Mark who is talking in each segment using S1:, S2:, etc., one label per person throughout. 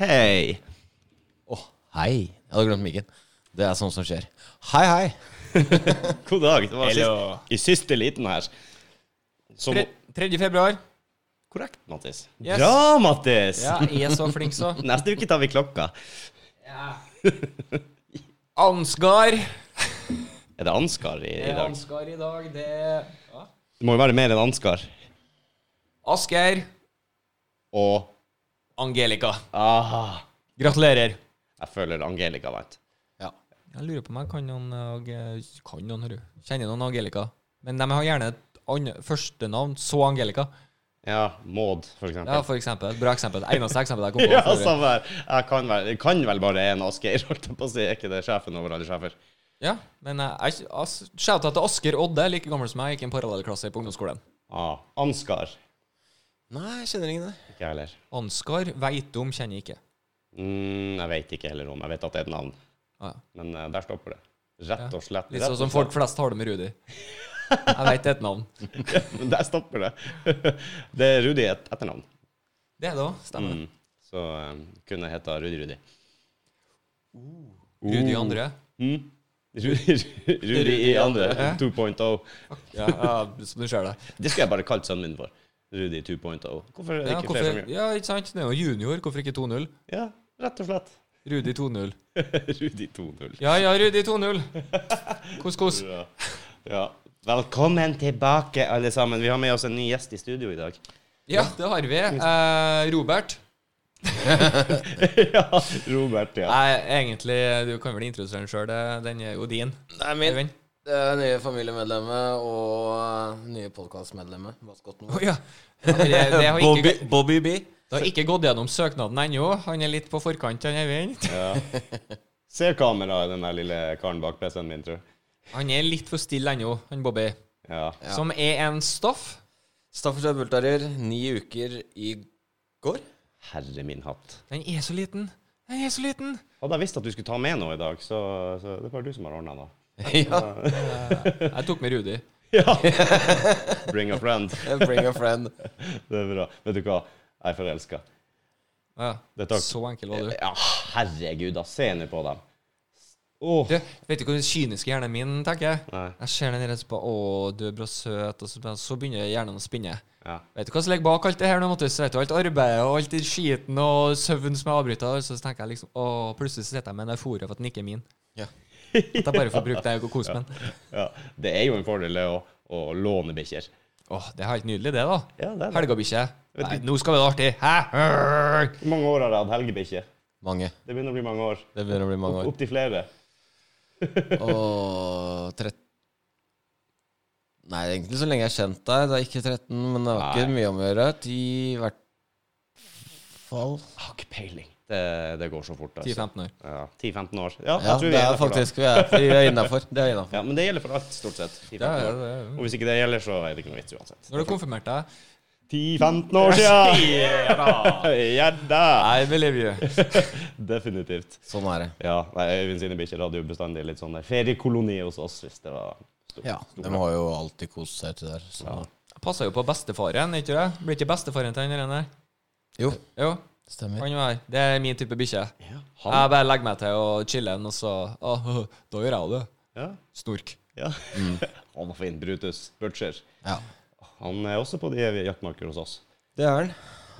S1: Hei.
S2: Å, hei. Jeg hadde glemt mikken. Det er sånt som skjer. Hei, hei.
S1: God dag. Det var
S3: Hello.
S1: sist, i siste liten her. Som,
S3: Tre, 3. februar.
S1: korrekt, Mattis.
S3: Yes.
S1: Bra, Mattis!
S3: Ja, jeg er så flink, så.
S1: Neste uke tar vi klokka.
S3: Ansgar.
S1: Er det Ansgar i, i dag?
S3: Ansgar i dag, det ja.
S1: Det må jo være mer enn Ansgar.
S3: Asgeir.
S1: Og
S3: Angelica.
S1: ah,
S3: Gratulerer.
S1: Jeg føler Angelica vant.
S2: Ja.
S3: Jeg lurer på om jeg kan noen Ag- Kan noen, hører du. Kjenner noen Angelica. Men de har gjerne et annet førstenavn, så Angelica.
S1: Ja, Maud, for eksempel.
S3: Ja, for eksempel. Bra eksempel. Eneste eksempel jeg kom på.
S1: Ja,
S3: for øvrig.
S1: samme her. Jeg kan vel, jeg kan vel bare én Asgeir, holdt jeg på å si. Er ikke det sjefen over alle sjefer?
S3: ja men eh, jeg, as, shout-out til Asker Odde, like gammel som meg, gikk i en parallellklasse på ungdomsskolen.
S1: Ah, Ansgar.
S2: Nei, jeg kjenner ingen der.
S1: Ikke jeg heller.
S3: Ansgar veit om, kjenner jeg ikke.
S1: Mm, jeg vet ikke heller om. Jeg vet at det er et navn,
S3: Ah, ja.
S1: men eh, der stopper det. Rett og slett.
S3: Litt
S1: rett
S3: sånn som
S1: og
S3: folk flest har det med Rudi. Jeg veit et navn.
S1: slett. Men der stopper det. det er Rudi et etternavn.
S3: Det er det òg, stemmer det.
S1: Mm. Så eh, kunne heta Rudi Rudi.
S3: Rudi andre.
S1: Mm. Rudi, Rudi i andre. 2.0.
S3: Ja, ja, så du ser det.
S1: Det skulle jeg bare kalt sønnen min for. Rudi 2.0. Hvorfor er det
S3: Ja,
S1: ikke flere
S3: hvorfor,
S1: som gjør det?
S3: ja, ikke sant? Det er jo junior, hvorfor ikke 2-0?
S1: Ja, rett og slett.
S3: Rudi 2-0.
S1: Rudi 2.0.
S3: Ja, ja, Rudi 2-0. Kos, kos.
S1: Ja. ja. Velkommen tilbake, alle sammen. Vi har med oss en ny gjest i studio i dag.
S3: Ja, det har vi. Eh, Robert.
S1: ja, Robert, ja.
S3: Nei, egentlig, du kan vel introdusere den sjøl. Den er jo din.
S2: Det er min.
S3: Øyvind.
S2: Det er nye familiemedlemmer og eh, nye podkastmedlemmer. Hva skal den
S3: Å
S2: være?
S3: ja. Ja, men Det, det, har ikke,
S2: Bobby B.
S3: det har ikke gått gjennom søknaden ennå. Han er litt på forkant, han Øyvind.
S1: ja. Ser kameraet, den der lille karen bak PC-en min, tror jeg.
S3: Han er litt for stille ennå, han Bobby.
S1: Ja.
S3: Som er en staff.
S2: Staffordshire Bultarier, ni uker i går.
S1: Herre min hatt.
S3: Den er så liten. Den er så liten.
S1: Hadde jeg visst at du skulle ta med noe i dag, så, så det er bare du som har ordna det.
S2: ja.
S3: Jeg tok med Rudi.
S1: Ja. Bring a friend.
S2: Bring a friend.
S1: Det er bra. Vet du hva? Jeg er forelska.
S3: Ja.
S1: Det er takk.
S3: Så enkel var du.
S1: Ja, herregud, da. Se nå på dem. Åh.
S3: Du, vet du hvor den kyniske hjernen min tenker? jeg?
S1: Nei.
S3: Jeg ser den der og så bare Å, du er bra søt. Og så, bare- så begynner hjernen å spinne.
S1: Ja.
S3: Vet du hva som ligger bak alt det her nå, Mattis? Vet du, alt arbeidet og alt den skiten og søvnen som er avbryta. og Så tenker jeg liksom Å, plutselig så sitter jeg med en eufori for at den ikke er min.
S2: Ja.
S3: At jeg bare får bruke deg og kose med den.
S1: ja. Det er jo en fordel, det, å, å låne bikkjer.
S3: Åh, det er helt nydelig, det, da.
S1: Ja, det er det.
S3: Helgabikkje. Nei, nå skal vi ha det artig. Hæ?
S1: Hvor mange år har jeg hatt helgebikkje?
S2: Mange.
S1: Det begynner å bli mange år.
S2: Det begynner å bli mange år.
S1: Opptil flere.
S2: Og 13 Nei, egentlig så lenge jeg har kjent deg. Det er ikke 13, men det har ikke mye om å gjøre. 10 i hvert fall.
S1: Har ikke peiling. Det, det går så fort. Altså.
S3: 10-15 år.
S1: Ja, 10-15 år. Ja,
S2: Ja,
S1: jeg tror vi
S2: det
S1: er
S2: er
S1: innenfor
S2: faktisk vi er, vi er innafor. Det er
S1: da.
S2: innafor.
S1: Ja, men det gjelder for alt, stort sett. 10-15
S3: Ja, ja,
S1: år.
S3: det er jo
S1: Og hvis ikke det gjelder, så er det ikke noe vits uansett.
S3: Når du konfirmerte deg
S1: 10-15 år siden! Ja da!
S3: I believe you.
S1: Definitivt.
S2: Sånn er det.
S1: Ja, nei, Øyvind sine bikkjer hadde jo bestandig litt sånn der feriekoloni hos oss, hvis det var stort.
S2: Ja, De har jo alltid kost seg uti der. Så.
S3: Passa jo på bestefaren, ikke det? Blir ikke bestefaren til han der? nei?
S2: Jo,
S3: Jo,
S2: stemmer.
S3: han var her. Det er min type bikkje.
S1: Ja, han.
S3: Jeg bare legger meg til og chiller'n, og så «Åh, Da gjør jeg det.
S1: Ja,
S3: Snork.
S1: ja. Han var fin. Brutus Butcher.
S2: Ja.
S1: Han er også på de jaktmarker hos oss.
S2: Det er han.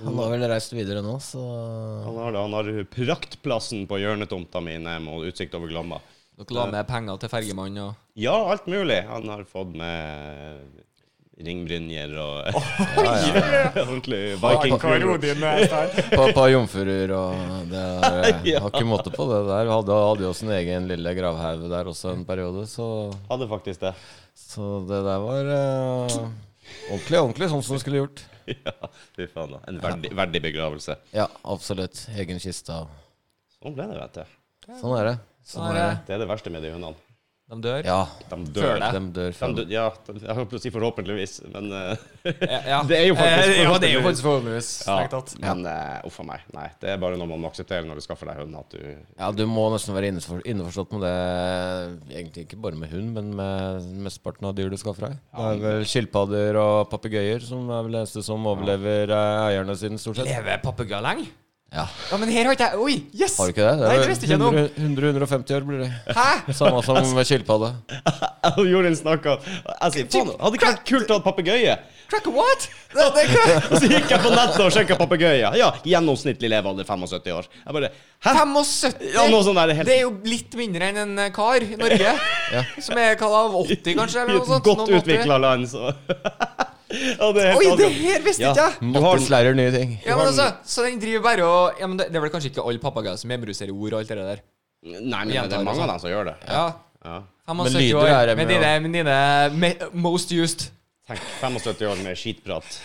S2: Han har vel reist videre nå, så
S1: Han har, det. han har praktplassen på hjørnetomta mi ned mot utsikt over Glomma.
S3: Dere la med penger til fergemannen og
S1: Ja, alt mulig. Han har fått med ringbrynjer og ordentlig viking crew.
S2: På, på jomfruer og det er, Har ikke måte på det der. Vi hadde, hadde jo sin egen lille gravhaug der også en periode, så
S1: Hadde faktisk det.
S2: Så det der var eh, ordentlig, ordentlig sånn som det skulle gjort.
S1: Ja, fy faen. da. En verdig, verdig begravelse.
S2: Ja, absolutt. Egen kiste. og-
S1: Sånn ble det, vet du.
S2: Sånn er det. Sånn er det.
S1: Det er det verste med de hundene.
S3: de dør.
S2: Ja.
S1: De
S3: Før
S1: dør.
S3: det.
S2: De dør
S1: De
S2: før.
S1: dør ja, de- jeg holdt på å si forhåpentligvis, men eh,
S3: Ja.
S1: Det er jo faktisk
S3: Eh, Ja, det er jo faktisk forhåpentligvis. strengt tatt.
S1: Men eh, uff a meg. Nei, det er bare noe man må akseptere når du skaffer deg hund, at du
S2: Ja, du må nesten være innenfor, innforstått med det. Egentlig ikke bare med hund, men med mesteparten av dyr du skaffer deg. Det er vel skilpadder og papegøyer som er vel det eneste som overlever eh, eierne sine, stort sett.
S3: Lever papegøyen lenge?
S2: Ja.
S3: Ja, men her har ikke jeg Oi, yes!
S2: Har du ikke det? det
S3: Nei,
S2: er
S3: det visste ikke jeg noe om.
S2: 100-150 år blir det.
S3: Hæ?
S2: Samme som med skilpadde.
S1: Og Jorunn snakka Jeg sier faen, hadde ikke vært kult å ha papegøye?
S3: Crack what? Det, det, hva?
S1: Og så gikk jeg på nettet og sjekka papegøyer. Ja, gjennomsnittlig levealder 75 år. Jeg bare Hæ?
S3: 75?
S1: Ja, noe sånt der, det er helt-
S3: Det er jo litt mindre enn en eh, kar i Norge. Som er hva da, 80, kanskje?
S1: I
S3: Eller
S1: et
S3: noe sånt.
S1: godt
S3: Noen 80.
S1: utvikla land, så Ja, det er helt
S3: Oi, det
S1: avgjort.
S3: her visste
S1: Ja.
S3: ikke jeg!
S1: Du har-
S2: Mattes lærer nye ting.
S3: Ja, men altså, Så den driver bare og ja, men det, det er vel kanskje ikke alle papegøyer som embruserer ord og alt det der?
S1: Nei, men det er
S3: altså.
S1: mange av dem som gjør det.
S3: Ja.
S1: Ja.
S3: 75
S2: lyder
S3: år,
S2: er det
S3: med
S2: med
S3: dine, med dine me, most used.
S1: Tenk 75 år med skitprat.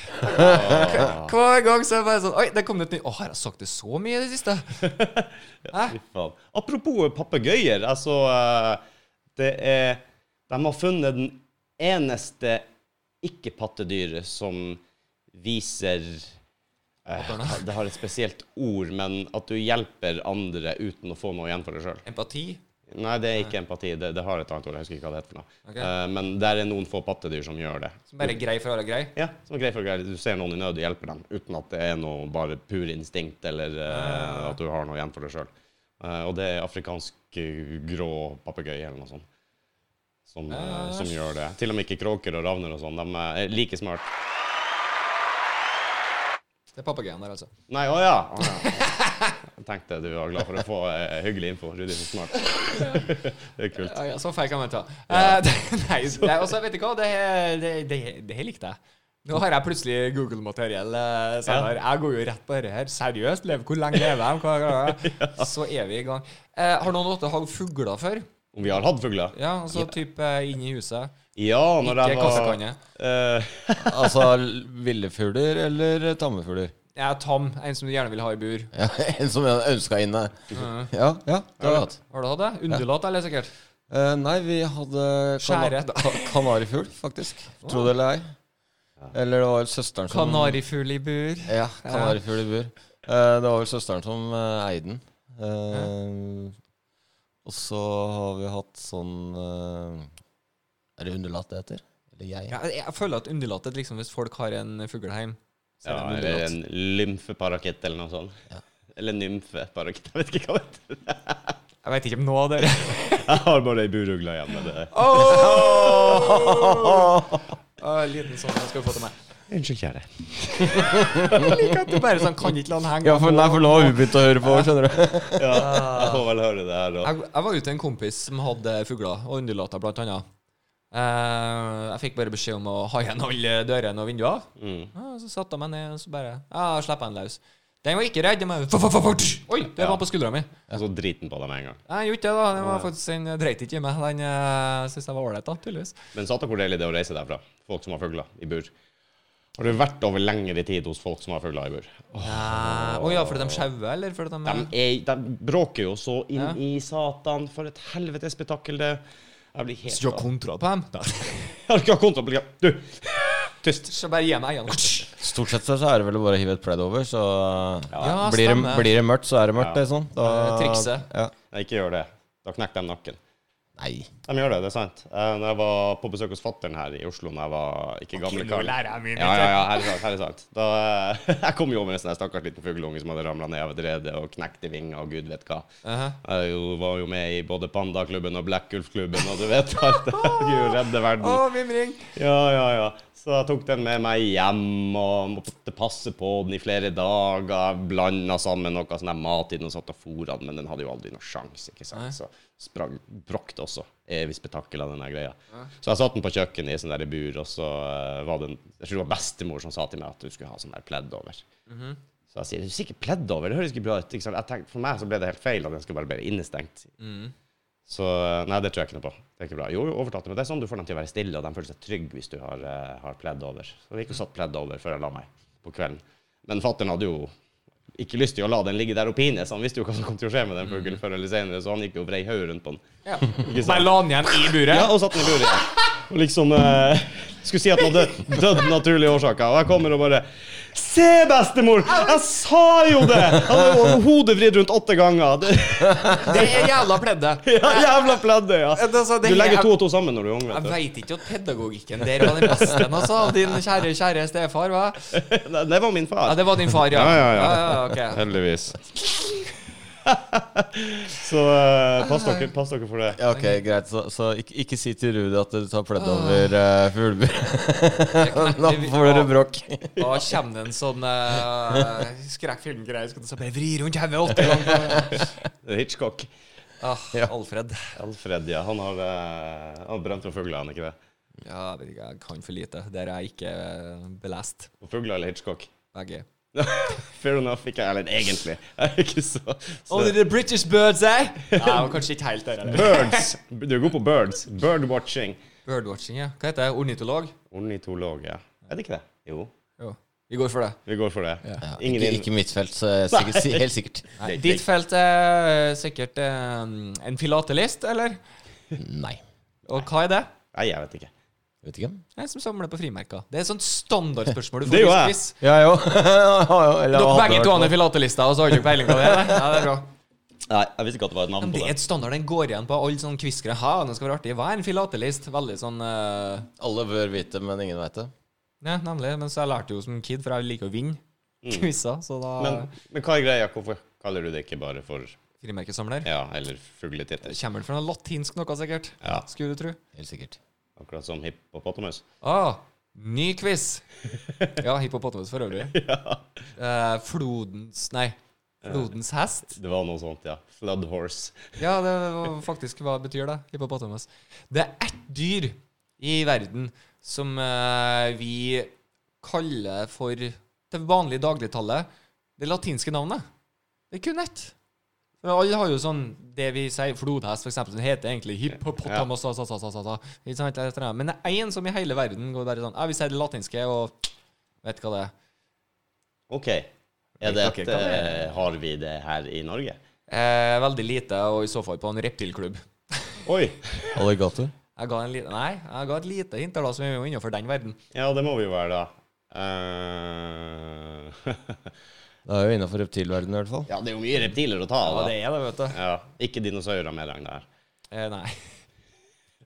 S3: Hver gang så er det bare sånn Oi, der kom det et nytt Å, har jeg sagt det så mye i det siste?
S1: Fy faen. Apropos papegøyer. Altså, eh, det er De har funnet den eneste ikke-pattedyret som viser eh, Det har et spesielt ord, men at du hjelper andre uten å få noe igjen for deg sjøl.
S3: Empati?
S1: Nei, det er ikke empati. Det, det har et annet ord. Jeg husker ikke hva det heter. for noe.
S3: Ok.
S1: Eh, men der er noen få pattedyr som gjør det.
S3: Som bare er grei for alle grei?
S1: Ja, som er grei for grei. Du ser noen i nød, du hjelper dem. Uten at det er noe bare pur instinkt, eller
S3: Ah.
S1: eh, at du har noe igjen for deg sjøl. og det er afrikansk eh, grå papegøye eller noe sånt. Som, eh,
S3: Ah,
S1: som gjør det. Til og med ikke kråker og ravner og sånn. De er like smart.
S3: Det er papegøyen der, altså.
S1: Nei, å ja! Å, ja. Jeg tenkte du var glad for å få eh, hyggelig info. Rudi er så smart. det er kult.
S3: Ja, ja, så feil kan man ta. Eh, det, nei, det, også, vet du hva, det, det, det, det her likte jeg. Nå har jeg plutselig Google-materiell. eh, så jeg har- Jeg går jo rett på det her. Seriøst, lev, hvor lenge lever jeg? Hva, hva, hva? Så er vi i gang. Eh, har noen åtte hagd fugler før?
S1: Om vi har hatt fugler?
S3: Ja, altså type eh, inn i huset.
S1: Ja, når
S3: Ikke
S1: jeg var
S3: kassekanne.
S1: Eh,
S2: Altså ville fugler eller tamme fugler?
S3: Jeg er tam, en som du gjerne vil ha i bur. Mm.
S2: Ja, en som jeg ønska inne. Ja, ja, det har jeg hatt.
S3: Har du hatt det? Undulat, eller sikkert?
S2: Eh, nei, vi hadde kana
S3: Skjære.
S2: ka kanarifugl, faktisk. Tro det eller ei. Eller det var vel søsteren som
S3: Kanarifugl i bur.
S2: Ja, kanarifugl i bur. Eh, det var vel søsteren som eh, eide den. Eh, og så har vi hatt sånn eh, Er det underlatt det heter? Eller jeg?
S3: Ja, jeg, jeg føler at undulatet, liksom, hvis folk har en fugl hjemme så
S1: ja,
S3: er det en
S1: eller
S3: undulat.
S1: en lymfeparakitt eller noe sånt.
S2: Ja.
S1: Eller nymfeparakitt. Jeg vet ikke hva det heter.
S3: Jeg vet ikke om noe av dere
S1: Jeg har bare ei burugle igjen med det.
S3: Ah, en liten sånn den skal du få til meg.
S1: Unnskyld, kjære.
S3: Jeg liker at du bare sånn kan ikke la den henge.
S2: Ja, for, nei, for nå har vi begynt å høre på, skjønner du.
S1: Ja, jeg får vel høre det her, da.
S3: Jeg, jeg var ute til en kompis som hadde fugler og undulater, blant annet. Eh, jeg fikk bare beskjed om å ha igjen alle dørene og vinduene.
S1: Mm.
S3: Ja, så satte jeg meg ned og så bare Ja, slapp jeg den løs. Den var ikke redd. Den var, Oi, det var på skuldra mi.
S1: Og så driten på deg med en gang.
S3: Jeg gjorde ikke det, da. Den var faktisk Den dreit ikke i meg. Den uh, syntes jeg var ålreit, da, tydeligvis.
S1: Men satan hvor deilig det er å reise derfra. Folk som har fugler i bur. Har du vært over lengre tid hos folk som har fugler i bur?
S3: Nei, Å ja, fordi de sjauer, eller fordi de,
S1: De, er, de bråker jo så inn
S3: Ja.
S1: i satan. For et helvetes spetakkel det Jeg blir helt
S3: Så du har kontroll på dem?
S1: Jeg har ikke kontroll på det. Du! Tyst.
S3: Så bare gi meg øynene.
S2: Stort sett så er det vel bare å hive et pledd over, så
S3: Ja,
S2: blir, det,
S3: stemmer.
S2: blir det mørkt, så er det mørkt, det er sånn. Da,
S3: Eh, trikset.
S2: Ja.
S1: Nei, ikke gjør det. Da knekker de nakken.
S2: Nei.
S1: De gjør det, det er sant. Eh, Når jeg var på besøk hos fattern her i Oslo når jeg var ikke gamle kar
S3: jeg mye.
S1: Ja, ja, ja, her er sant. Her er sant. Da, eh, jeg kom jo over en sånn her stakkars liten fugleunge som hadde ramla ned av et rede og knekt i vinger og gud vet hva. Jeg jo, var jo med i både Pandaklubben og Black Ulf-klubben og du vet alt det der. Gud, redde
S3: Å,
S1: verden.
S3: vimring.
S1: Ja, ja, ja. Så jeg tok den med meg hjem og måtte passe på den i flere dager. Blanda sammen noe sånn her mat i den og satt og fôra den, men den hadde jo aldri noe sjanse, ikke sant. Så sprang brokte også. Evig spetakkel av den her greia. Så jeg satt den på kjøkkenet i sånn der bur, og så eh, var det en Jeg tror det var bestemor som sa til meg at du skulle ha sånn der pledd over. Så jeg sier det er sikkert pledd over, det høres ikke bra ut. Ikke sant? Jeg tenkte, for meg så ble det helt feil at den skulle bare bli innestengt. Så eh, nei, det tror jeg ikke noe på. Det er ikke bra. Jo, overtatt, men det er sånn du får dem til å være stille, og de føler seg trygge hvis du har, eh, har pledd over. Så jeg gikk og satt pledd over før jeg la meg på kvelden. Men fattern hadde jo ikke lyst til å la den ligge der og pines. Han visste jo hva som kom til å skje med den fuglen før eller senere, så han gikk jo og vrei hodet rundt på den.
S3: Ja.
S1: Ikke sant?
S3: Bare la den igjen i buret.
S1: Ja, og satt den i buret. Og liksom eh, Skulle si at han hadde dødd naturlige årsaker. Og jeg kommer og bare Se, bestemor! Jeg sa jo det! Han er jo hodet vridd rundt åtte ganger. Det,
S3: Det er jævla pledde.
S1: ja, jævla pledde, ja.
S3: Ja, det er så- det
S1: Du legger
S3: er-
S1: to og to sammen når du er ung,
S3: Jeg
S1: vet du.
S3: veit ikke at pedagogikken der var den beste, enn altså, av din kjære, kjære stefar. Hva?
S1: Det det var min
S3: Ja,
S1: far.
S3: det var din far, ja.
S1: Ja, ja, ja.
S3: ok.
S1: Heldigvis. Så eh, pass dere, pass dere for det.
S2: Ja, ok, greit. Så, så ikke, ikke si til Rudi at du tar pledd over uh, fugleburet. Da får dere bråk.
S3: Da kommer det en sånn uh, skrekkfilmgreie. Skal du så bare vri rundt hodet åtte ganger?
S1: Hitchcock.
S3: Ah, Alfred.
S1: Alfred, ja. Han har, eh, han har brent fra fugler, han ikke det?
S3: Ja, jeg vet ikke, jeg kan for lite. Der er jeg ikke eh, belest.
S1: På fugler eller Hitchcock?
S3: Begge.
S1: Fair enough, ikke jeg heller, egentlig. Jeg er ikke så, så.
S3: Only the British birds, eh? Ja, men kanskje ikke helt der. eller?
S1: Birds! Du er god på birds. Birdwatching.
S3: Birdwatching, ja. Hva heter det? Ornitolog?
S1: Ornitolog, ja. Er det ikke det? Jo.
S3: Jo. Vi går for det.
S1: Vi går for det.
S2: Ja,
S1: Ingen
S2: ikke,
S1: inn-
S2: ikke mitt felt, så jeg er sikkert, si- helt sikkert.
S1: Nei,
S3: Ditt felt er sikkert eh, en filatelist, eller?
S2: Nei.
S3: Og hva er det?
S1: Nei, jeg vet ikke.
S2: Vet ikke.
S3: Jeg som samler på frimerker. Det er et sånt standardspørsmål du
S1: Det
S3: får
S1: er jo
S3: i
S1: jeg.
S3: quiz.
S2: Ja, jo. Eller,
S3: Dere begge to er
S2: det.
S3: filatelister, og så har dere ikke peiling på det? eller? Ja, det er bra.
S1: Nei, jeg visste ikke at det var et navn
S3: Men det
S1: på
S3: er
S1: det.
S3: et standard den går igjen på alle sånne quiz-greier. Ha, nå skal det være artig. Hva er en filatelist? Veldig sånn eh,
S2: Alle bør vite, men ingen veit det.
S3: Ja, nemlig. Men så jeg lærte jo som kid, for jeg liker å vinne quizer, så da
S1: Mm. Men, men hva er greia? Hvorfor kaller du det ikke bare for
S3: Frimerkesamler.
S1: Ja, eller fugletitter?
S3: Kommer vel fra noe latinsk noe, sikkert.
S1: Ja.
S3: Skulle du tro.
S2: Helt sikkert.
S1: Akkurat som hippopotamus.
S3: Ah, ny quiz. Ja, hippopotamus for øvrig. Eh, flodens Nei. Flodens hest.
S1: Det var noe sånt, ja. Flood horse.
S3: Ja, det var faktisk hva betyr det? Hippopotamus. Det er ett dyr i verden som eh, vi kaller for det vanlige dagligtallet det latinske navnet. Det er kun ett. For Alle har jo sånn det vi sier flodhest, for eksempel. Den heter egentlig hippopotamus. sa, sa, sa, sa, sa, sa. Ikke sant, et eller annet. Men det er én som i hele verden går bare sånn Ja, vi sier det latinske, og vet hva det er.
S1: OK. Er det
S3: Ok,
S1: et,
S3: hva er
S1: eh, har vi det her i Norge?
S3: Eh, veldig lite, og i så fall på en reptilklubb.
S1: Oi!
S2: Alligator.
S3: Jeg ga, en lite, nei, jeg ga et lite hint, der da, som er jo innenfor den verden.
S1: Ja, det må vi jo være, da. Eh,
S2: Det er jo innafor reptilverdenen i hvert fall.
S1: ja, det er jo mye reptiler å ta
S3: Ja,
S1: av. da.
S3: det er det, vet du.
S1: Ja, ikke dinosaurer med regn der.
S3: Eh, nei.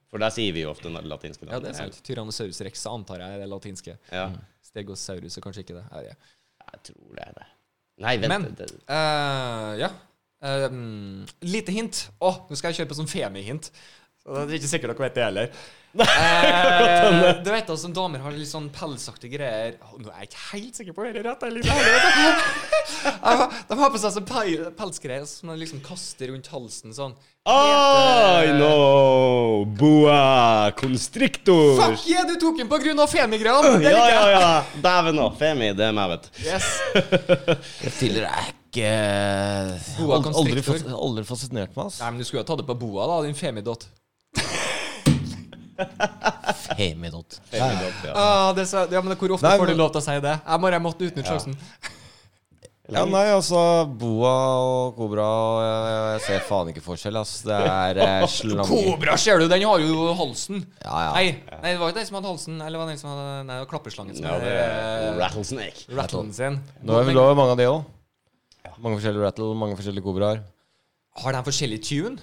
S1: For der sier vi jo ofte na- latinske navn.
S3: Ja, det er sant. Mm. Tyrannosaurus rex antar jeg er det latinske.
S1: Ja,
S3: Stegosaurus er kanskje ikke det. Jeg vet ikke.
S1: jeg tror det er det. Nei, vent.
S3: Men
S1: det,
S3: eh, ja. Um, lite hint. Å, nå skal jeg kjøre på sånn femihint. Så Det er ikke sikkert dere vet det heller. Eh, du vet da, som damer har litt sånn pelsaktige greier Å, Nå er jeg ikke helt sikker på om det er rett. jeg er litt ærlig, vet du. Eh, De har på seg sånn pel- pelsgreier som de liksom kaster rundt halsen sånn. eh,
S1: I know! Boa constrictor!
S3: Fuck yeah, du tok den på grunn av femigreiene! Det
S1: Ja,
S3: liker
S1: ja,
S3: jeg.
S1: ja! Dæven òg. Femi, det er meg, vet du.
S3: Yes.
S2: Reptiler er ikke
S3: Boa
S2: Aldri, aldri,
S3: constrictor.
S2: fas- aldri fascinert meg, ass.
S3: Nei, men du skulle jo ha tatt det på boa, da, din femidott.
S2: Femidot.
S1: Femi dopp, ja.
S3: Ah, det sa, ja, men hvor ofte
S2: Nei,
S3: får
S2: men-
S3: du lov til å si det? Jeg må jeg måtte utnytte sjansen.
S2: Ja, nei, altså Boa og kobra og jeg, jeg ser faen ikke forskjell, ass. Det er eh, slanger.
S3: Kobra, ser du, den har jo halsen.
S2: Ja,
S3: Nei,
S2: ja.
S3: nei, det var ikke den som hadde halsen. Eller det var den som hadde Nei, det var klappeslangen som
S1: ja det er rattlesnake.
S3: eh, rattlen sin.
S2: Nå er vi da er mange av de òg. Mange forskjellige rattle, mange forskjellige kobraer.
S3: Har den forskjellig tune?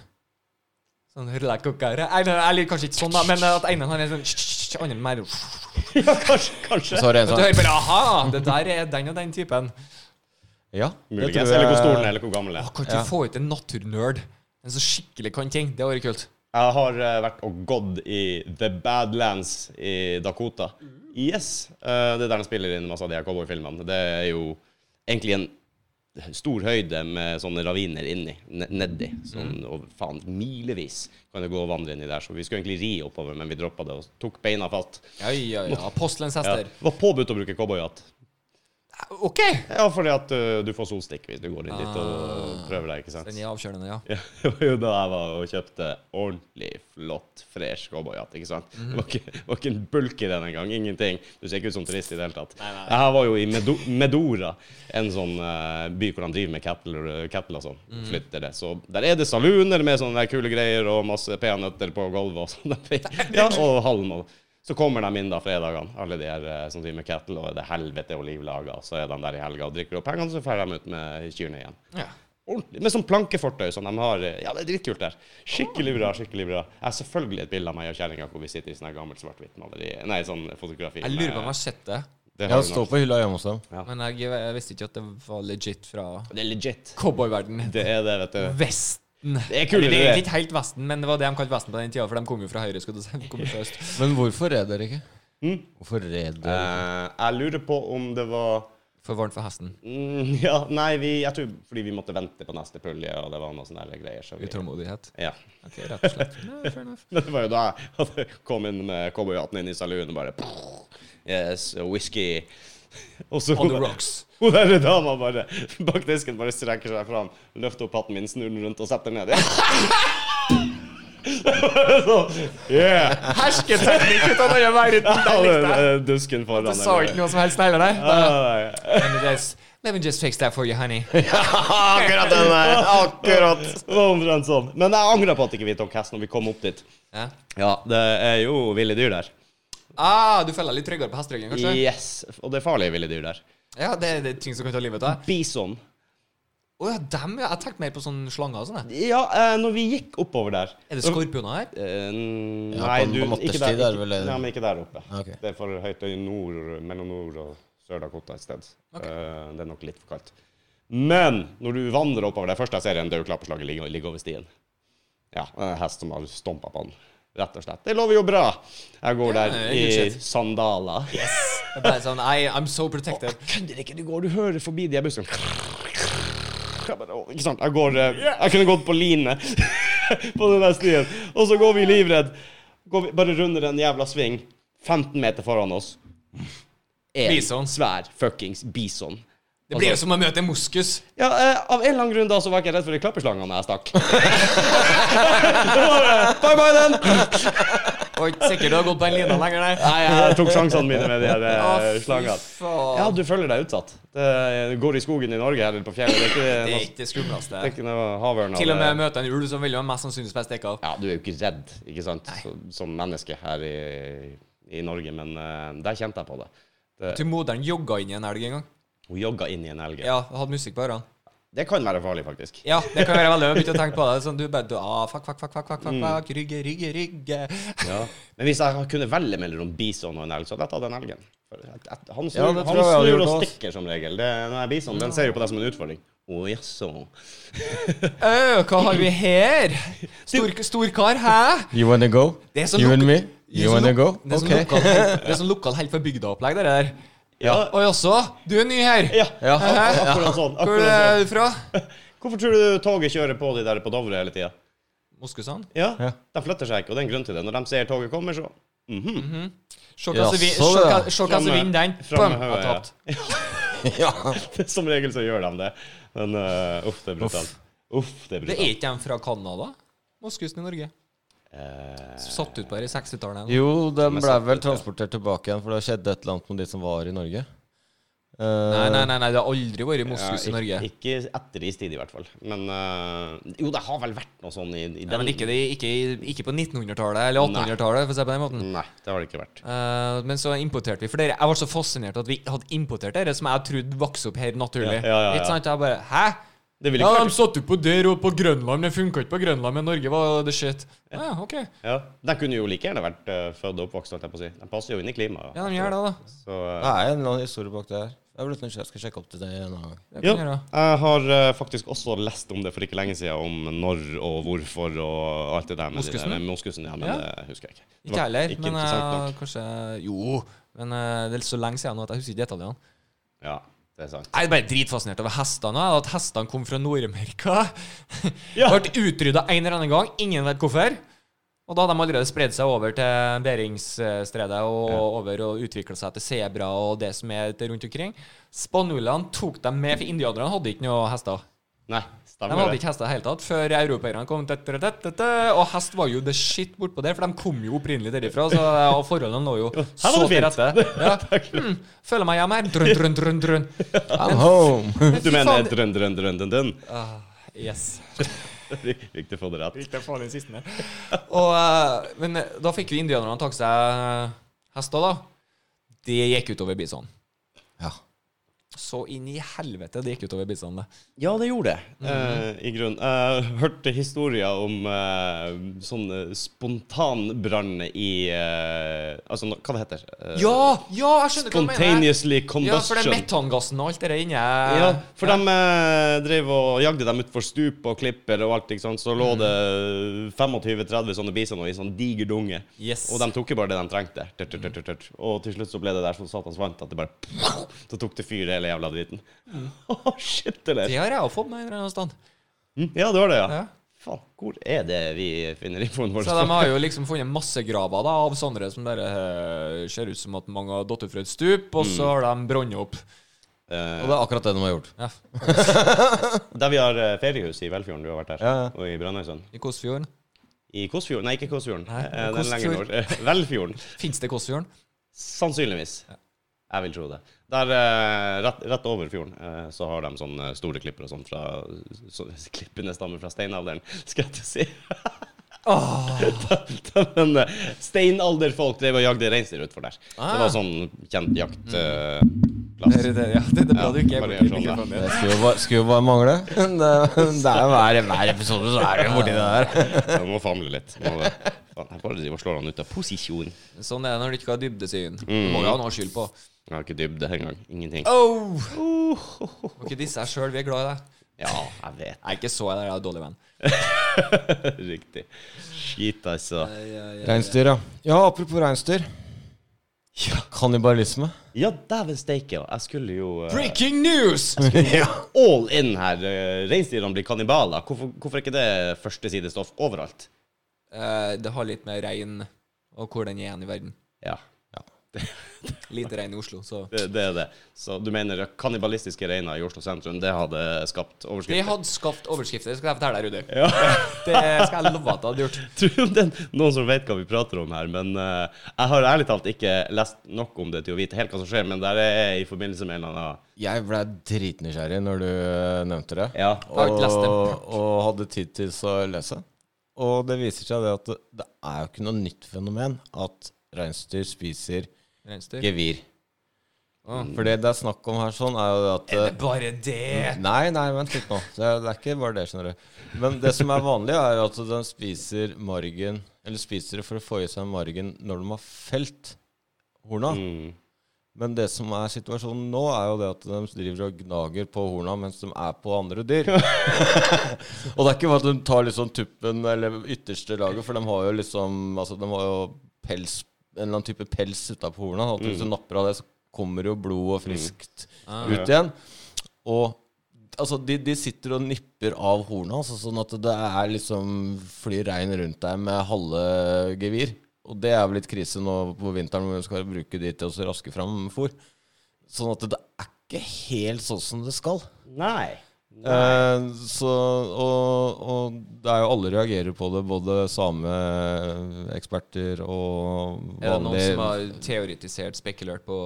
S3: Sånn rullekokere Eller kanskje ikke sånn, da, men at ene har en sånn Andre mer Du
S1: Ja, kanskje. kanskje.
S2: Så har du en sånn
S3: hører bare aha, det der er den og den typen.
S2: Ja, det
S1: Muligens. Eller hvor stor den er, eller hvor gammel den er.
S3: Kan ikke få ut en naturnerd. En som skikkelig kan ting. Det hadde vært kult.
S1: Jeg har eh, vært og gått i The Badlands i Dakota. Yes. eh, det er der de spiller inn masse av de her cowboyfilmene. Det er jo egentlig en stor høyde med sånne raviner inni, ne- nedi. Sånn, og faen, milevis kan det gå og vandre inni der. Så vi skulle egentlig ri oppover, men vi droppa det og tok beina fatt.
S3: Ja, ja, ja. Apostelens
S1: Ja.
S3: hester.
S1: Det var påbudt å bruke cowboyhatt.
S3: OK!
S1: Ja, fordi at eh, du får solstikk hvis du går inn dit og prøver deg, ikke sant.
S3: Den er avkjølende, ja.
S1: Ja, Det var jo da jeg var og kjøpte ordentlig flott, fresh cowboyhatt. ikke sant? Det var ikke, det var ikke en bulk i den engang. Ingenting. Du ser ikke ut som turist i det hele tatt. Jeg her var jo i Medo Medora, en sånn eh, by hvor han driver med cattle, cattle og sånn. Flytter det. Så der er det saluner med sånne der kule greier og masse peanøtter på gulvet og sånn. Ja, og halm og Så kommer de inn da fredagene, alle de her eh, som driver med kettle, og det er helvete og livlager. Så er de der i helga og drikker opp pengene, så drar de ut med kyrne igjen.
S3: Ja.
S1: Ordentlig. Med sånn plankefortøy som de har. eh, Ja, det er dritkult der. Skikkelig bra. skikkelig bra. Jeg har selvfølgelig et bilde av meg og kjerringa hvor vi sitter i sånn her gammelt svart-hvitt maleri. Nei, sånn fotografi.
S3: Jeg lurer på om jeg har sett det,
S1: Det,
S2: Ja,
S1: har
S2: det
S1: vi
S2: står
S1: nok.
S2: på hylla hjemme hos dem.
S3: men jeg, jeg visste ikke at det var legit fra
S1: det er legit.
S3: cowboyverdenen.
S1: Det er det, vet du.
S3: Vesten.
S1: Det er
S3: Eller, det
S1: kulere,
S3: er
S1: det.
S3: egentlig ikke helt Vesten, men det var det de kalte Vesten på den tida, for de kom jo fra høyre. skulle du si. De kom jo fra øst.
S2: Men hvorfor red dere ikke? Hvorfor red dere?
S1: Eh, jeg lurer på om det var
S3: For varmt for hesten.
S1: mm, Ja, nei, vi, jeg tror fordi vi måtte vente på neste pulje, og det var noe sånne her greier. Så vi,
S3: Utålmodighet.
S1: ja.
S3: Ok, rett og slett. Nei, fair enough.
S1: Men det var jo da jeg hadde kom inn med cowboyhatten inn i saloonen og bare Yes, whisky. Og så
S3: On the rocks.
S1: Hun der dama bare bak disken bare strekker seg fram, løfter opp hatten min, snur den rundt og setter den ned. så, yeah!
S3: Hersketeknikk ut av denne verden!
S1: Ja,
S3: Det
S1: den,
S3: likte jeg.
S1: eh, Dusken foran
S3: Du sa ikke noe som helst negler der?
S1: Ah,
S3: Bare,
S1: nei.
S3: Let me just- Let me just fix that for you, honey.
S2: Akkurat den der! Akkurat!
S1: Det var omtrent sånn. Men jeg angra på at ikke vi tok hest når vi kom opp dit.
S3: Ja.
S1: Ja, det er jo ville dyr der.
S3: Ah, du føler deg litt tryggere på hesteryggen, kanskje?
S1: Yes, Og det er farlige ville dyr der.
S3: Ja, det, det er ting som kan ta livet av deg.
S1: Bison.
S3: Å ja, dem, ja. Jeg tenkte mer på sånne slanger og sånn. jeg.
S1: Ja, eh, når vi gikk oppover der
S3: Er det skorpioner her?
S1: Eh, n-
S2: Ja,
S1: Nei,
S2: på-
S1: du,
S2: på
S1: ikke
S2: Mattersti
S1: der,
S2: der,
S1: ikke,
S2: vel, er det-
S1: nei, men ikke der oppe.
S2: Ah, Ok.
S1: Det er for høyt i nord, mellom nord og Sør-Dakota et sted. Eh, det er nok litt for kaldt. Men når du vandrer oppover Det første jeg ser, er en død klapperslager ligge, ligge over stien. Ja, en hest som har stompa på den. Rett og slett. Det lover jo bra. Jeg går
S3: Ja,
S1: der
S3: det er
S1: i
S3: good shit.
S1: sandaler.
S3: Jeg bare sånn, I, I'm so protected.
S1: Kødder ikke, du går, du hører forbi de her bussene. Jeg bare, «Åh», Ikke sant? Jeg går eh, Jeg kunne gått på line på den der stien. Og så går vi livredd. Går vi, bare runder en jævla sving. 15 meter foran oss. En
S3: Bison.
S1: svær fuckings bison.
S3: Det blir jo som å møte en moskus.
S1: Ja, eh, Av en eller annen grunn da så var jeg ikke redd for de klapperslangene jeg stakk. Det var, eh, bye bye, den!
S3: Og ikke sikkert du har gått på en lina lenger, nei.
S1: Nei, jeg tok sjansene mine med de her eh,
S3: Å, fy
S1: slangene.
S3: faen.
S1: Ja, du føler deg utsatt. Det det går i skogen i Norge eller på fjellet. Det
S3: Det
S1: er ikke noe
S3: er ikke det skumleste.
S1: Det er ikke noe havørn.
S3: Til og med møte en ulv, så vil jo mest sannsynlig bli stukket av.
S1: Ja, du er jo ikke redd, ikke sant, så, som menneske her i, i Norge, men eh, der kjente jeg på det. det
S3: Til moderen jogga inn i en elg en gang.
S1: hun jogga inn i en elg.
S3: Ja, hadde musikk på ørene.
S1: Det kan være farlig, faktisk.
S3: Ja, det kan være veldig Jeg begynte å tenke på det. Sånn, du bare du, ah, fuck, fuck, fuck, fuck, fuck,
S1: Mm.
S3: fuck, fuck, rygge, rygge, rygge.
S1: Men hvis jeg kunne velge mellom bison og en elg, så hadde jeg tatt den elgen. For at- at Han
S2: Ja,
S1: snur, han
S2: det tror jeg jeg hadde
S1: snur
S2: gjort
S1: og
S2: også.
S1: stikker som regel. Det, den her bisonen den ser jo på deg som en utfordring. Å jaså.
S3: Au, hva har vi her? Stor, storkar, hæ?
S2: You wanna go?
S3: Det er så
S2: you
S3: luk-
S2: and me?
S3: det er
S2: You
S3: sånn
S2: wanna go?
S3: lok- Det er sånn
S2: Ok.
S3: lokal, helt- det er sånn lokal helt for bygda-opplegg, det der.
S1: Ja.
S3: Oi, også. Du er ny her.
S1: Ja,
S2: Ja.
S3: Hæ?
S2: eh,
S1: akkurat sånn.
S3: Hvor
S1: Akkurat
S3: er
S1: sånn.
S3: du fra?
S1: Hvorfor tror du toget kjører på de der på Dovre hele tida?
S3: Moskusene.
S1: Ja,
S2: Ja.
S1: De flytter seg ikke, og det er en grunn til det. Når de ser toget kommer, så
S3: Se hva som vi- se
S2: Jaså, det
S3: hva- se
S2: da.
S3: hva som
S1: Framme-
S3: vinner den.
S1: framme
S3: Bam,
S1: høyre,
S3: har tapt.
S2: Ja.
S1: Som regel så gjør de det. Men øh, uff, det er brutalt. Uff, det er
S3: Det
S1: brutalt.
S3: er ikke dem fra Canada? Moskusen i Norge.
S1: Eh,
S3: Satt ut på her i 60-tallet.
S2: Jo, de ble vel transportert tilbake igjen, for det skjedde et eller annet med de som var i Norge. Eh,
S3: Nei, nei, nei, nei, det har aldri vært moskus i
S1: ja,
S3: Norge.
S1: ikke, ikke etter istid, i hvert fall. Men øh, Jo, det har vel vært noe sånn i, i den
S3: Ja, men ikke, det- ikke, ikke på 1900-tallet eller 1800-tallet, for å si det på den måten.
S1: Nei, det har det ikke vært.
S3: Eh, men så importerte vi For dere, jeg var så fascinert at vi hadde importert dere som jeg trodde vokste opp her naturlig.
S1: Ja, ja, ja, ja.
S3: Ikke sant? Jeg bare Hæ?
S1: Det ville
S3: Ja,
S1: ikke
S3: de satt jo på der og på Grønland, men det funka ikke på Grønland, men Norge var the shit. Ja, OK.
S1: vært ja. De kunne jo like gjerne vært øh, født og oppvokst, holdt jeg på å si. De passer jo inn i klimaet.
S3: Ja, de gjør det, da.
S1: Så øh,
S2: Det er en eller annen historie bak det her. Jeg, ble nødt til- jeg skal sjekke opp til det en annen gang.
S3: Det
S1: ja,
S3: kan de gjøre.
S1: jeg har øh, faktisk også lest om det for ikke lenge siden, om når og hvorfor og alt det der. Med de der-
S3: Moskusen?
S1: med moskusen? Ja, men
S3: Ja.
S1: det husker jeg ikke. Det
S3: Ikke
S1: var
S3: jeg heller,
S1: ikke
S3: men
S1: interessant
S3: eh,
S1: nok.
S3: kanskje Jo. Men eh, det er så lenge siden nå at jeg husker ikke detaljene.
S1: Ja, det er sant.
S3: Jeg er bare dritfascinert over hestene. og At hestene kom fra Nord-Amerika.
S1: Ja.
S3: Ble utrydda en eller annen gang. Ingen vet hvorfor. Og da hadde de allerede spredd seg over til Beringsstredet og over og utvikla seg til sebra og det som er til rundt omkring. Spanjolene tok dem med, for indianerne hadde ikke noe hester.
S1: Nei,
S3: De
S1: stemmer
S3: hadde
S1: det.
S3: ikke hester i det hele tatt før europeerne kom. tett, tett, tett, tett, tett, Og hest var jo the shit bortpå der, for de kom jo opprinnelig derifra. Så, eh, og forholdene lå jo
S1: var
S3: så til
S1: det
S3: rette. Ja. Mm, føler meg hjemme her. Drønn, drønn, drønn, drønn.
S2: I'm home!
S1: Du mener drønn, drønn, drønn, drønn, drønn?
S3: Ah, Yes.
S1: Riktig få det rett.
S3: eh, Gikk det faen i sisten her. Og, eh, men da fikk jo indianerne tatt seg hester, da, det gikk utover bisonen.
S2: Ja.
S3: Så inn i helvete det gikk utover bisonen, det.
S1: Ja, det gjorde det, eh, i grunnen. Jeg hørte historier om eh, sånne spontanbranner i eh, Altså, nå- hva det heter Eh,
S3: Ja! Ja, jeg skjønner hva du mener!
S1: Spontaneously
S3: Ja, for
S1: combustion.
S3: det er metangassen og alt det der inne.
S1: Ja, for de eh, drev og jagde dem utfor stup og klipper og alt, ikke sant. Så lå det 25-30 sånne bisoner i sånn diger dunge.
S3: Yes.
S1: Og de tok jo bare det de trengte. Tørt, tørt, tørt, tørt. Og til slutt så ble det der så satans varmt at det bare Så tok det fyr hele jævla driten. Å, shit, eller?
S3: Det har jeg jo fått med en eller annen stand.
S1: Mm, Ja, det var det, ja.
S3: Ja.
S1: Faen, hvor er det vi finner infoen vår?
S3: Så de har jo liksom funnet massegraver da, av sånne som bare eh, ser ut som at mange har datt ut fra et stup, og
S1: Mm.
S3: så har de brant opp.
S1: Eh,
S2: Og det er akkurat det de har gjort.
S3: Ja,
S1: der vi har eh, feriehus i Velfjorden, du har vært der,
S2: Ja, ja.
S1: og i Brønnøysund.
S3: I Kåssfjorden.
S1: I Kåssfjorden? Nei, ikke Kåssfjorden.
S3: Nei,
S1: Eh, den er lenger
S3: Kåssfjord.
S1: nord. Eh, Velfjorden.
S3: Fins det Kåssfjorden?
S1: Sannsynligvis. Jeg vil tro det. Der, eh, rett, rett over fjorden eh, så har de sånne store klipper og sånn fra så, Klippene stammer fra steinalderen, skal jeg til å si. Da- da- Men eh, steinalderfolk drev og jagde reinsdyr utfor der. Det
S3: Ah.
S1: var sånn kjent eh, jaktplass.
S3: Det, det, ja, det, det er bra
S1: Ja,
S3: du ikke er
S1: bare
S3: borti
S1: gjør sånn, da.
S3: mikrofonen.
S2: Det skulle jo bare, skulle jo bare mangle. Det, det er jo hver, hver episode så er det jo borti det der.
S1: Jeg må famle litt. Må det. Faen, Jeg bare driver og slår han ut av posisjon.
S3: din. Sånn er det når du ikke har
S1: Mm.
S3: dybdesyn. Du må jo ha noe skyld på.
S1: Jeg har ikke dybde engang. Ingenting.
S3: Oh! Må ikke disse deg sjøl, vi er glad i deg.
S1: Ja, jeg vet.
S3: Jeg er ikke så jeg er en dårlig venn.
S1: Riktig. Skit, altså.
S2: Reinsdyr, ja. Ja, apropos reinsdyr. Kannibalisme.
S1: Ja, dæven steike. Jeg skulle jo eh,
S3: Breaking news!
S2: ja.
S1: all in her. eh, Reinsdyrene blir kannibaler. Hvorfor, hvorfor er ikke det førstesidestoff overalt?
S3: Eh, det har litt med rein og hvor den er igjen i verden.
S1: Ja,
S3: Lite rein i Oslo, så
S1: det, det er det. Så du mener at kannibalistiske reiner i Oslo sentrum, det hadde skapt
S3: Det
S1: overskrifter?
S3: hadde skapt overskrifter, skal jeg fortelle deg, Rudi.
S1: Ja.
S3: Det skal jeg love at det hadde gjort.
S1: Tror du det er noen som vet hva vi prater om her, men eh, jeg har ærlig talt ikke lest nok om det til å vite helt hva som skjer, men der er i forbindelse med en eller annen
S2: Jeg ble dritnysgjerrig når du eh, nevnte det.
S1: Ja.
S3: Jeg har ikke lest det.
S2: og, og hadde tid til å lese. Og det viser seg det at det, det er jo ikke noe nytt fenomen at reinsdyr spiser
S3: Reinsdyr.
S2: gevir. For det det er snakk om her, sånn, er jo det at
S3: Er det bare det?
S2: Nei, nei, vent litt nå. Det er, det er ikke bare det, skjønner du. Men det som er vanlig, er jo at de spiser margen Eller spiser det for å få i seg margen når de har felt horna. Men det som er situasjonen nå, er jo det at de driver og gnager på horna mens de er på andre dyr. og det er ikke bare at de tar liksom tuppen eller ytterste laget, for de har jo liksom Altså, de har jo pels en eller annen type pels utapå horna. og Hvis du napper av det, så kommer jo blod og friskt ut igjen. Og altså, de, de sitter og nipper av horna, altså, sånn at det er liksom flyr regn rundt deg med halve gevir. Og det er vel litt krise nå på vinteren hvor vi skal bruke de til å raske fram fôr. Sånn at det er ikke helt sånn som det skal.
S1: Nei.
S2: Eh, så, og, og det er jo alle reagerer på det, både sameeksperter og
S3: Er det noen
S2: vanlige
S3: som har teoretisert, spekulert på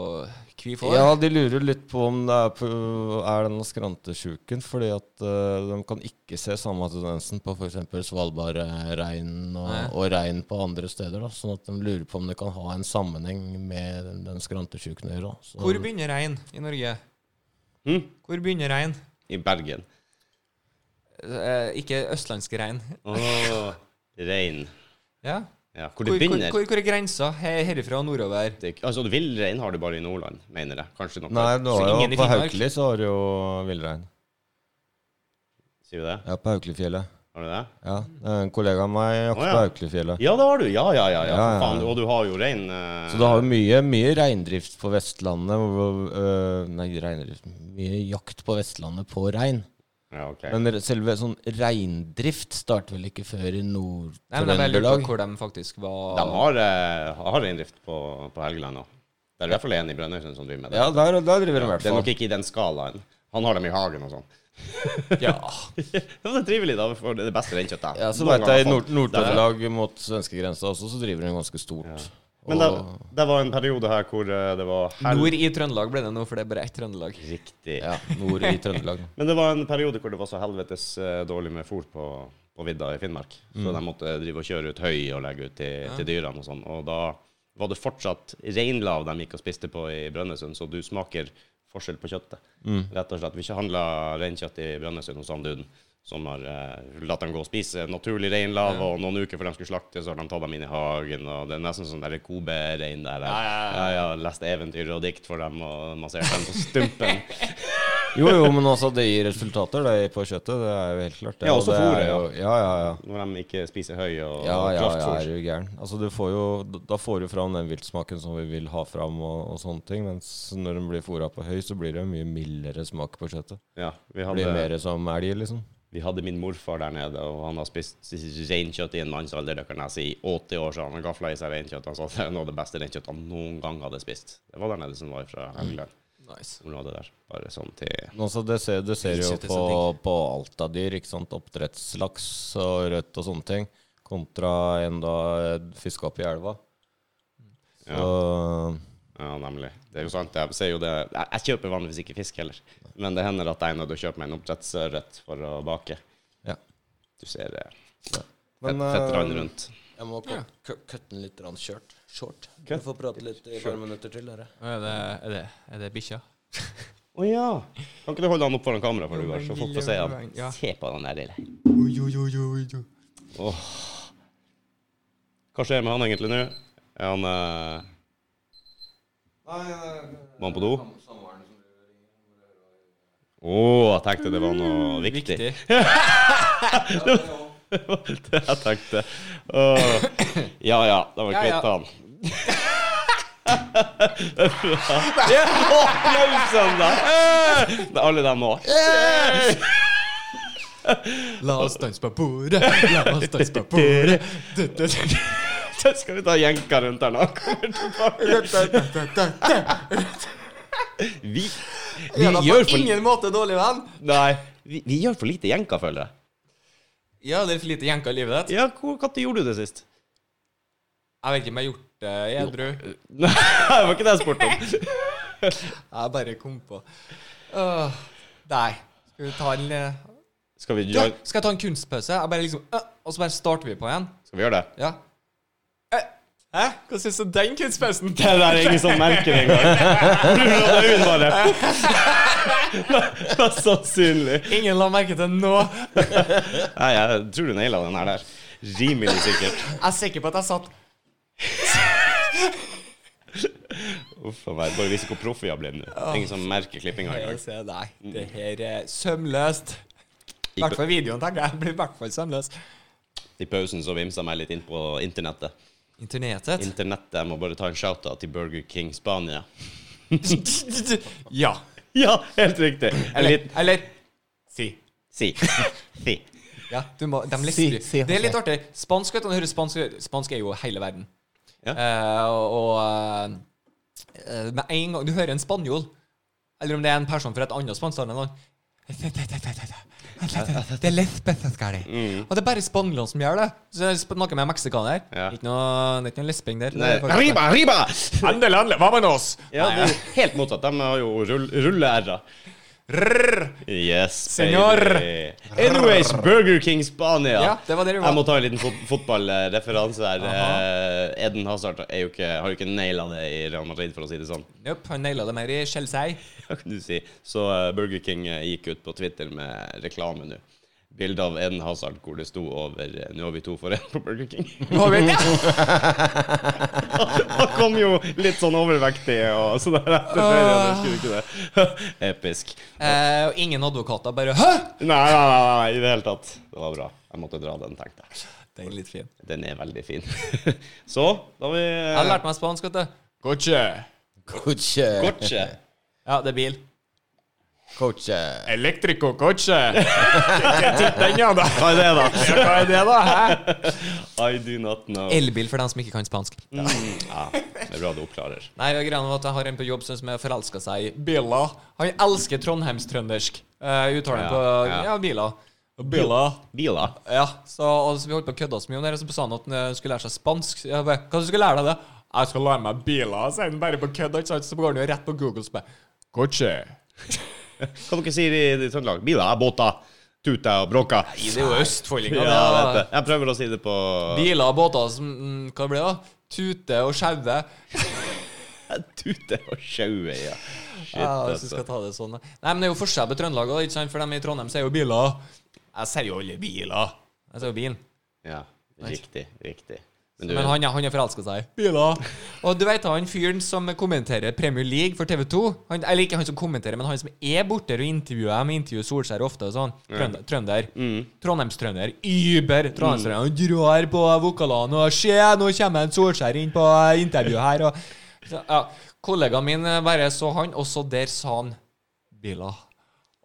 S3: hvorfor?
S2: Ja, de lurer litt på om det er, på, er denne skrantesjuken, fordi at eh, de kan ikke se samme tendensen på f.eks. Svalbardreinen eh, og,
S3: Nei.
S2: og rein på andre steder. Da, sånn at de lurer på om det kan ha en sammenheng med den, den skrantesjuken å gjøre. da. Så-
S3: Hvor begynner rein i Norge?
S1: Hm?
S3: Hvor begynner rein?
S1: I Bergen.
S3: Eh, ikke østlandsk rein.
S1: Åh, rein.
S3: Ja.
S1: Ja, hvor
S3: Hvor,
S1: det
S3: hvor,
S1: begynner.
S3: hvor, hvor er grensa Her, herifra og nordover?
S1: Det er ikke- Altså, villrein har du bare i Nordland, mener jeg. Kanskje noe
S2: Nei, nå
S3: Så
S2: har
S3: ingen i
S2: jo, på
S3: Finnmark?
S2: Haukeli så har du jo villrein.
S1: Sier du det?
S2: Ja, på Haukelifjellet.
S1: Har du det?
S2: Ja, det er en kollega av meg jakter
S1: Å, ja.
S2: på Haukelifjellet.
S1: Ja, det har du. Ja, ja, ja. ja.
S2: Ja, ja,
S1: Faen,
S2: ja.
S1: og du har jo rein eh,
S2: Så du har jo mye, mye reindrift på Vestlandet hvor, øh, Nei, reindrift Mye jakt på Vestlandet på rein.
S1: Ja, ok.
S2: Men re- selve sånn reindrift starter vel ikke før i
S3: Nei, men jeg lurer på
S2: Nord-Trøndelag?
S3: hvor de faktisk var
S1: De har, eh, har reindrift på, på Helgeland òg. Det er i hvert fall en i Brønnøysund som driver med det.
S2: Ja, der, der driver de i hvert
S1: det er
S2: fall.
S1: nok ikke i den skalaen. Han har dem i hagen og sånn.
S3: Ja.
S1: Ja, det er trivelig, da. For det er det beste reinkjøttet.
S2: Ja, så
S1: Noen
S2: vet jeg, I
S1: ganger,
S2: Nord-
S1: faen.
S2: Nord-Trøndelag mot svenskegrensa også, så driver de ganske stort.
S1: Men det, det var en periode her hvor eh, det var hel-
S3: Nord i Trøndelag ble det nå, for det er bare ett Trøndelag.
S1: Riktig.
S2: Ja, nord i Trøndelag.
S1: Men det var en periode hvor det var så helvetes eh, dårlig med fôr på,
S3: Mm.
S1: på vidda i Finnmark. Så de måtte drive og kjøre ut høy og legge ut til, til dyrene og sånn. Og da var det fortsatt reinlav de gikk og spiste på i Brønnøysund, så du smaker forskjell på kjøttet.
S3: Mm.
S1: Rett og slett. Vi ikke handla reinkjøtt i Brønnøysund hos Sanduden, som har eh, latt dem gå og spise naturlig reinlav, og noen uker før de skulle slakte, så har de tatt dem inn i hagen, og det er nesten sånn der Kobe-rein der.
S3: Ja, ja, ja.
S1: Jeg har lest eventyr og dikt for dem, og massert dem på stumpen.
S2: Jo, jo, men altså, det gir resultater det på kjøttet. Det er jo helt klart. det.
S1: Ja,
S2: Og
S1: også
S2: det er
S1: fôret, ja.
S2: jo- Ja, ja, ja.
S1: Når de ikke spiser høy og
S2: Ja, ja, ja,
S1: kraftfôr.
S2: er du gæren. Altså, du får jo, da får du fram den viltsmaken som vi vil ha fram, og, og sånne ting. Mens når den blir fôra på høy, så blir det mye mildere smak på kjøttet.
S1: Ja, vi
S2: Det blir
S1: hadde,
S2: mer som elg, liksom.
S1: vi hadde min morfar der nede, og han har spist reinkjøtt i en mannsalder, det kan jeg si, i 80 år siden. Han gafla i seg reinkjøtt. Han sa at det er noe av det beste reinkjøttet han noen gang hadde spist. Det var der nede som var fra Helgeland.
S3: Nice.
S1: Området der. Bare sånn til
S2: Men Altså, det ser, det ser jo
S3: Viltkjøtt er
S2: på,
S3: sånn
S2: på Alta-dyr, ikke sant. Oppdrettslaks og rødt og sånne ting. Kontra en da fiska opp i elva. Så
S1: Ja, nemlig. Det er jo sant. Jeg ser jo det Jeg, jeg kjøper vanligvis ikke fisk heller, men det hender at jeg er nødt til å kjøpe meg en oppdrettsørret for å bake.
S2: Ja.
S1: Du ser det.
S2: Men,
S1: fett, fett rann
S2: eh,
S1: rundt.
S2: Jeg må
S3: Ja.
S2: kutte den litt rann kjørt. Short.
S1: Cut.
S2: får prate litt i et par minutter til, dere.
S3: Er det, er det, er det bikkja?
S1: Å ja. Kan ikke du holde han opp foran kamera, for
S3: Jo,
S1: du har
S3: men
S1: så folk
S3: lille
S1: får se han.
S3: venn, ja.
S1: Se på den der lille.
S3: Oi, oi, oi, oi, oi.
S1: Hva skjer med han egentlig nå? Er han eh, Var han på do? Å, jeg tenkte det var noe viktig. Det jeg tenkte. Åh. ja ja, da var vi
S3: Ja, ja.
S1: kvitt han. Ja, å, Applausene, da! Det er alle dem òg.
S3: La oss danse på bordet, la oss danse på bordet. Du, du, du, du.
S1: Skal vi ta jenka rundt her nå? Kommer tilbake. Vi, vi
S3: er da
S1: gjør
S3: på
S1: for
S3: ingen måte dårlig venn.
S1: Nei, vi, vi gjør for lite jenka, føler jeg.
S3: Ja, det er for lite jenka i livet ditt.
S1: Ja, hvor- Når gjorde du det sist?
S3: Jeg vet ikke om jeg har gjort det edru.
S1: Nei, det var ikke det jeg spurte om.
S3: Jeg bare kom på. Åh, nei. Skal vi ta en eh,
S1: Skal vi,
S3: Du,
S1: gjøre,
S3: skal jeg ta en kunstpause? Jeg bare liksom, øh, Og så bare starter vi på igjen?
S1: skal vi gjøre det?
S3: Ja. Eh, Hæ? Hva syns du om den kunstpausen?
S1: Det der er ingen som merker det engang. Ruller det ut bare. Mest sannsynlig.
S3: Ingen la merke til nå.
S1: Nei, jeg tror du naila den her der. Rimelig sikkert.
S3: Jeg er sikker på at jeg satt
S1: Uff a meg. Bare vise hvor proff vi har blitt nå. Ingen sånn som merker klippinga
S3: Jeg
S1: engang.
S3: ser Nei, Mm. det her er sømløst. I
S1: I,
S3: hvert
S1: pa-
S3: fall videoen, tenker jeg. Blir i hvert fall sømløs.
S1: I pausen så vimsa jeg meg litt inn på internettet.
S3: Internettet.
S1: Internettet, Jeg må bare ta en shout-out til Burger King Spania.
S3: ja.
S1: Ja, helt riktig. En
S3: Eller,
S1: liten
S3: eller Si.
S1: Si. Si.
S3: Ja, du må, de
S2: Si,
S3: lesber.
S2: si,
S3: det er litt
S2: si.
S3: artig. Spansk vet du, når du hører spansk, spansk er jo hele verden.
S1: Ja.
S3: Eh, og og eh, med en gang du hører en spanjol, eller om det er en person fra et annet spansktalende land det er lesbeteskelig.
S1: Mm.
S3: Og det er bare spanjolene som gjør det. Så jeg sp- Noe med meksikaner.
S1: Ja.
S3: Ikke noe, det er ikke noe lesbing der.
S1: Nei,
S3: Det er faktisk-
S1: Arriba, arriba!
S3: Handel, handel, hva med oss?
S1: Ja, det er helt motsatt. De har jo rull- rulle-r-er.
S3: Rrrr.
S1: Yes, baby.
S3: Senor.
S1: Anyways, Burger King Spania.
S3: Ja, det var det det var.
S1: Jeg må ta en liten fot fotballreferanse her. Eh, Eden Hazard er jo ikke, har jo ikke naila det i Real Madrid, for å si det sånn.
S3: Nope, han naila det mer i Chelsea.
S1: Hva kan du si? Så eh, Burger King eh, gikk ut på Twitter med reklame nå. Bilde av Eden Hazard hvor det sto over eh, 'Nå er vi to for én på Burger King'.
S3: Nå vet jeg.
S1: Han kom jo litt sånn overvektig og så der. Dessverre, skulle ikke det. Episk.
S3: Eh, og ingen advokater, bare Hæ?!
S1: Nei, nei, nei, nei, i det hele tatt. Det var bra. Jeg måtte dra den, tenkte jeg.
S3: Den er litt fin.
S1: Den er veldig fin. Så, da har vi eh,
S3: Jeg har lært meg spansk, vet du. Coche.
S2: Coche.
S1: Kortje.
S3: Ja, det er bil.
S2: Coche.
S3: Elektriko coche. Den, ja, da.
S1: Hva er det, da?
S3: Hva er det, da? Hæ?
S1: I do not know. Mm,
S3: Elbil for dem som ikke kan spansk. Nei,
S1: Ja, det er bra du oppklarer.
S3: greia var at Jeg har en på jobb som har forelska seg i biler. Han elsker trondheimstrøndersk. Uh, uttalen
S1: Ja,
S3: på
S1: ja.
S3: ja, biler. Biler.
S1: Biler.
S3: Ja, så og så vi holdt på å kødde oss mye om det, og så sa han at han eh, skulle lære seg spansk. Jeg bare, Hva du skulle lære deg det? Jeg skal lære meg biler, sier han bare på kødd. ikke sant? Så går han jo rett på Google og spør Coche.
S1: Hva dere sier i, i Trøndelag? Biler er båter. tuta og bråka.
S3: Nei, det er jo østfoldinger,
S1: Ja, jeg vet
S3: da.
S1: det. Jeg prøver å si det på
S3: Biler og båter som mm, Hva blir det? da? Tute og sjaue.
S1: Tute og sjaue, ja. Shit,
S3: Ja, hvis du
S1: altså.
S3: skal ta det sånn. da. Nei, men det er jo forskjell på Trøndelag òg, ikke sant? For dem i Trondheim sier jo biler. Jeg sier jo alle biler. Jeg sier jo bilen.
S1: Ja, riktig. Riktig. Men
S3: Men,
S1: du,
S3: han, han er forelska seg i biler. Og du vet han fyren som kommenterer Premier League for TV2? Han, eller ikke han som kommenterer, men han som er borte og intervjuer dem. Intervjuer Solskjær ofte og sånn. Trønder. trønder.
S1: Mm.
S3: Trondheimstrønder. Über trondheimstrønder. Han drar på vokalene og Se, nå kommer en Solskjær inn på intervju her. Og, så, ja, kollegaen min eh, bare så han, og så der sa han biler.